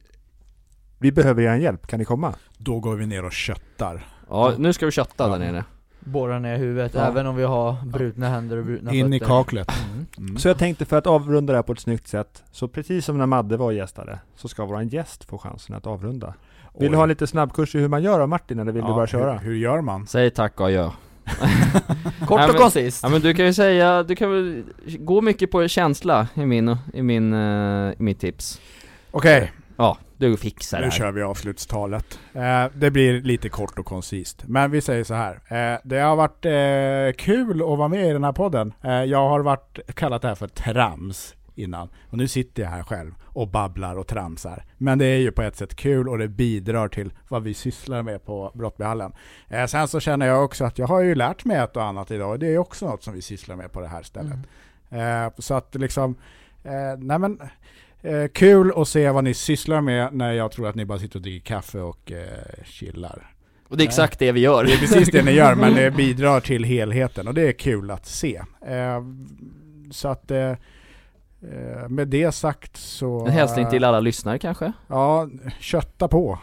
Speaker 1: vi behöver er hjälp, kan ni komma?
Speaker 3: Då går vi ner och köttar.
Speaker 2: ja nu ska vi kötta där nere
Speaker 4: Borra ner huvudet,
Speaker 1: Ja.
Speaker 4: även om vi har brutna händer och brutna
Speaker 3: In i
Speaker 4: fötter
Speaker 3: kaklet.
Speaker 4: Mm.
Speaker 3: Mm.
Speaker 1: Så jag tänkte för att avrunda det här på ett snyggt sätt, så precis som när Madde var och gästade, så ska vår gäst få chansen att avrunda. Vill du
Speaker 3: Oj.
Speaker 1: ha lite snabbkurs i hur man gör då Martin, eller vill du
Speaker 3: Ja,
Speaker 1: bara köra?
Speaker 3: Hur, hur gör man?
Speaker 2: Säg tack och adjö
Speaker 4: Kort
Speaker 2: Nej,
Speaker 4: och
Speaker 2: men-
Speaker 4: koncist!
Speaker 2: Ja men du kan ju säga, du kan väl gå mycket på känsla i min, i min, eh, i mitt tips
Speaker 3: Okej,
Speaker 2: Ja, du fixar det
Speaker 3: nu
Speaker 2: här
Speaker 3: kör vi avslutstalet. Eh, det blir lite kort och koncist. Men vi säger så här. Eh, det har varit eh, kul att vara med i den här podden. Eh, jag har varit, kallat det här för trams innan. Och nu sitter jag här själv och babblar och tramsar. Men det är ju på ett sätt kul och det bidrar till vad vi sysslar med på Brottbyhallen. Eh, sen så känner jag också att jag har ju lärt mig ett och annat idag och det är också något som vi sysslar med på det här stället. Eh, så att liksom, eh, nej men, eh, kul att se vad ni sysslar med när jag tror att ni bara sitter och dricker kaffe och eh, chillar.
Speaker 2: Och det är exakt det vi gör
Speaker 3: Det är precis det ni gör men det bidrar till helheten och det är kul att se. Eh, så att eh, eh, med det sagt så... eh,
Speaker 2: En hälsning till alla lyssnare kanske?
Speaker 3: Ja, kötta på.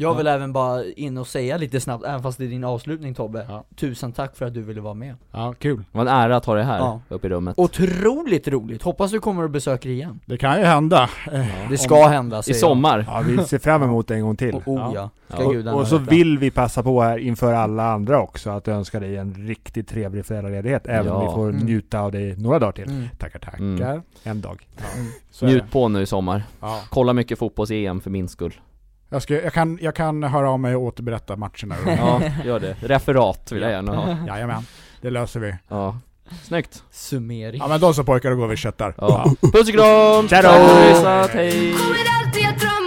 Speaker 4: Jag vill även bara in och säga lite snabbt, även fast det är din avslutning Tobbe
Speaker 3: Ja.
Speaker 4: Tusen tack för att du ville vara med
Speaker 3: Ja, kul.
Speaker 2: Det var en ära att ha dig här,
Speaker 4: Ja.
Speaker 2: uppe i rummet
Speaker 4: Otroligt roligt, hoppas du kommer och besöker igen
Speaker 3: Det kan ju hända. Eh,
Speaker 4: Det ska hända
Speaker 2: I
Speaker 4: säger jag.
Speaker 2: sommar
Speaker 1: Ja, vi ser fram emot det en gång till.
Speaker 4: Och oh ja, ska
Speaker 2: Ja,
Speaker 4: gudarna
Speaker 1: Och så
Speaker 4: veta.
Speaker 1: vill vi passa på här inför alla andra också att önska dig en riktigt trevlig föräldraledighet. Även om
Speaker 2: Ja.
Speaker 1: vi får
Speaker 4: Mm.
Speaker 1: njuta av dig några dagar till.
Speaker 4: mm.
Speaker 3: Tackar, tackar.
Speaker 2: Mm.
Speaker 1: En dag.
Speaker 3: Så är det.
Speaker 2: Njut på nu i sommar
Speaker 3: Ja.
Speaker 2: Kolla mycket fotbolls-EM för min skull
Speaker 3: Jag, ska, jag, kan, jag kan höra av mig och återberätta matcherna.
Speaker 2: Ja, gör det Referat vill jag gärna ha
Speaker 3: Jajamän, det löser vi.
Speaker 2: Ja Snyggt!
Speaker 4: Summering
Speaker 3: Ja
Speaker 2: 어.
Speaker 3: men då så pojkar, då går vi och köttar.
Speaker 2: Ja. Puss och kram!
Speaker 1: Tja då!
Speaker 2: Tack för att du har lyssnat, hej!
Speaker 5: Kommer alltid att dra Ah, Ah,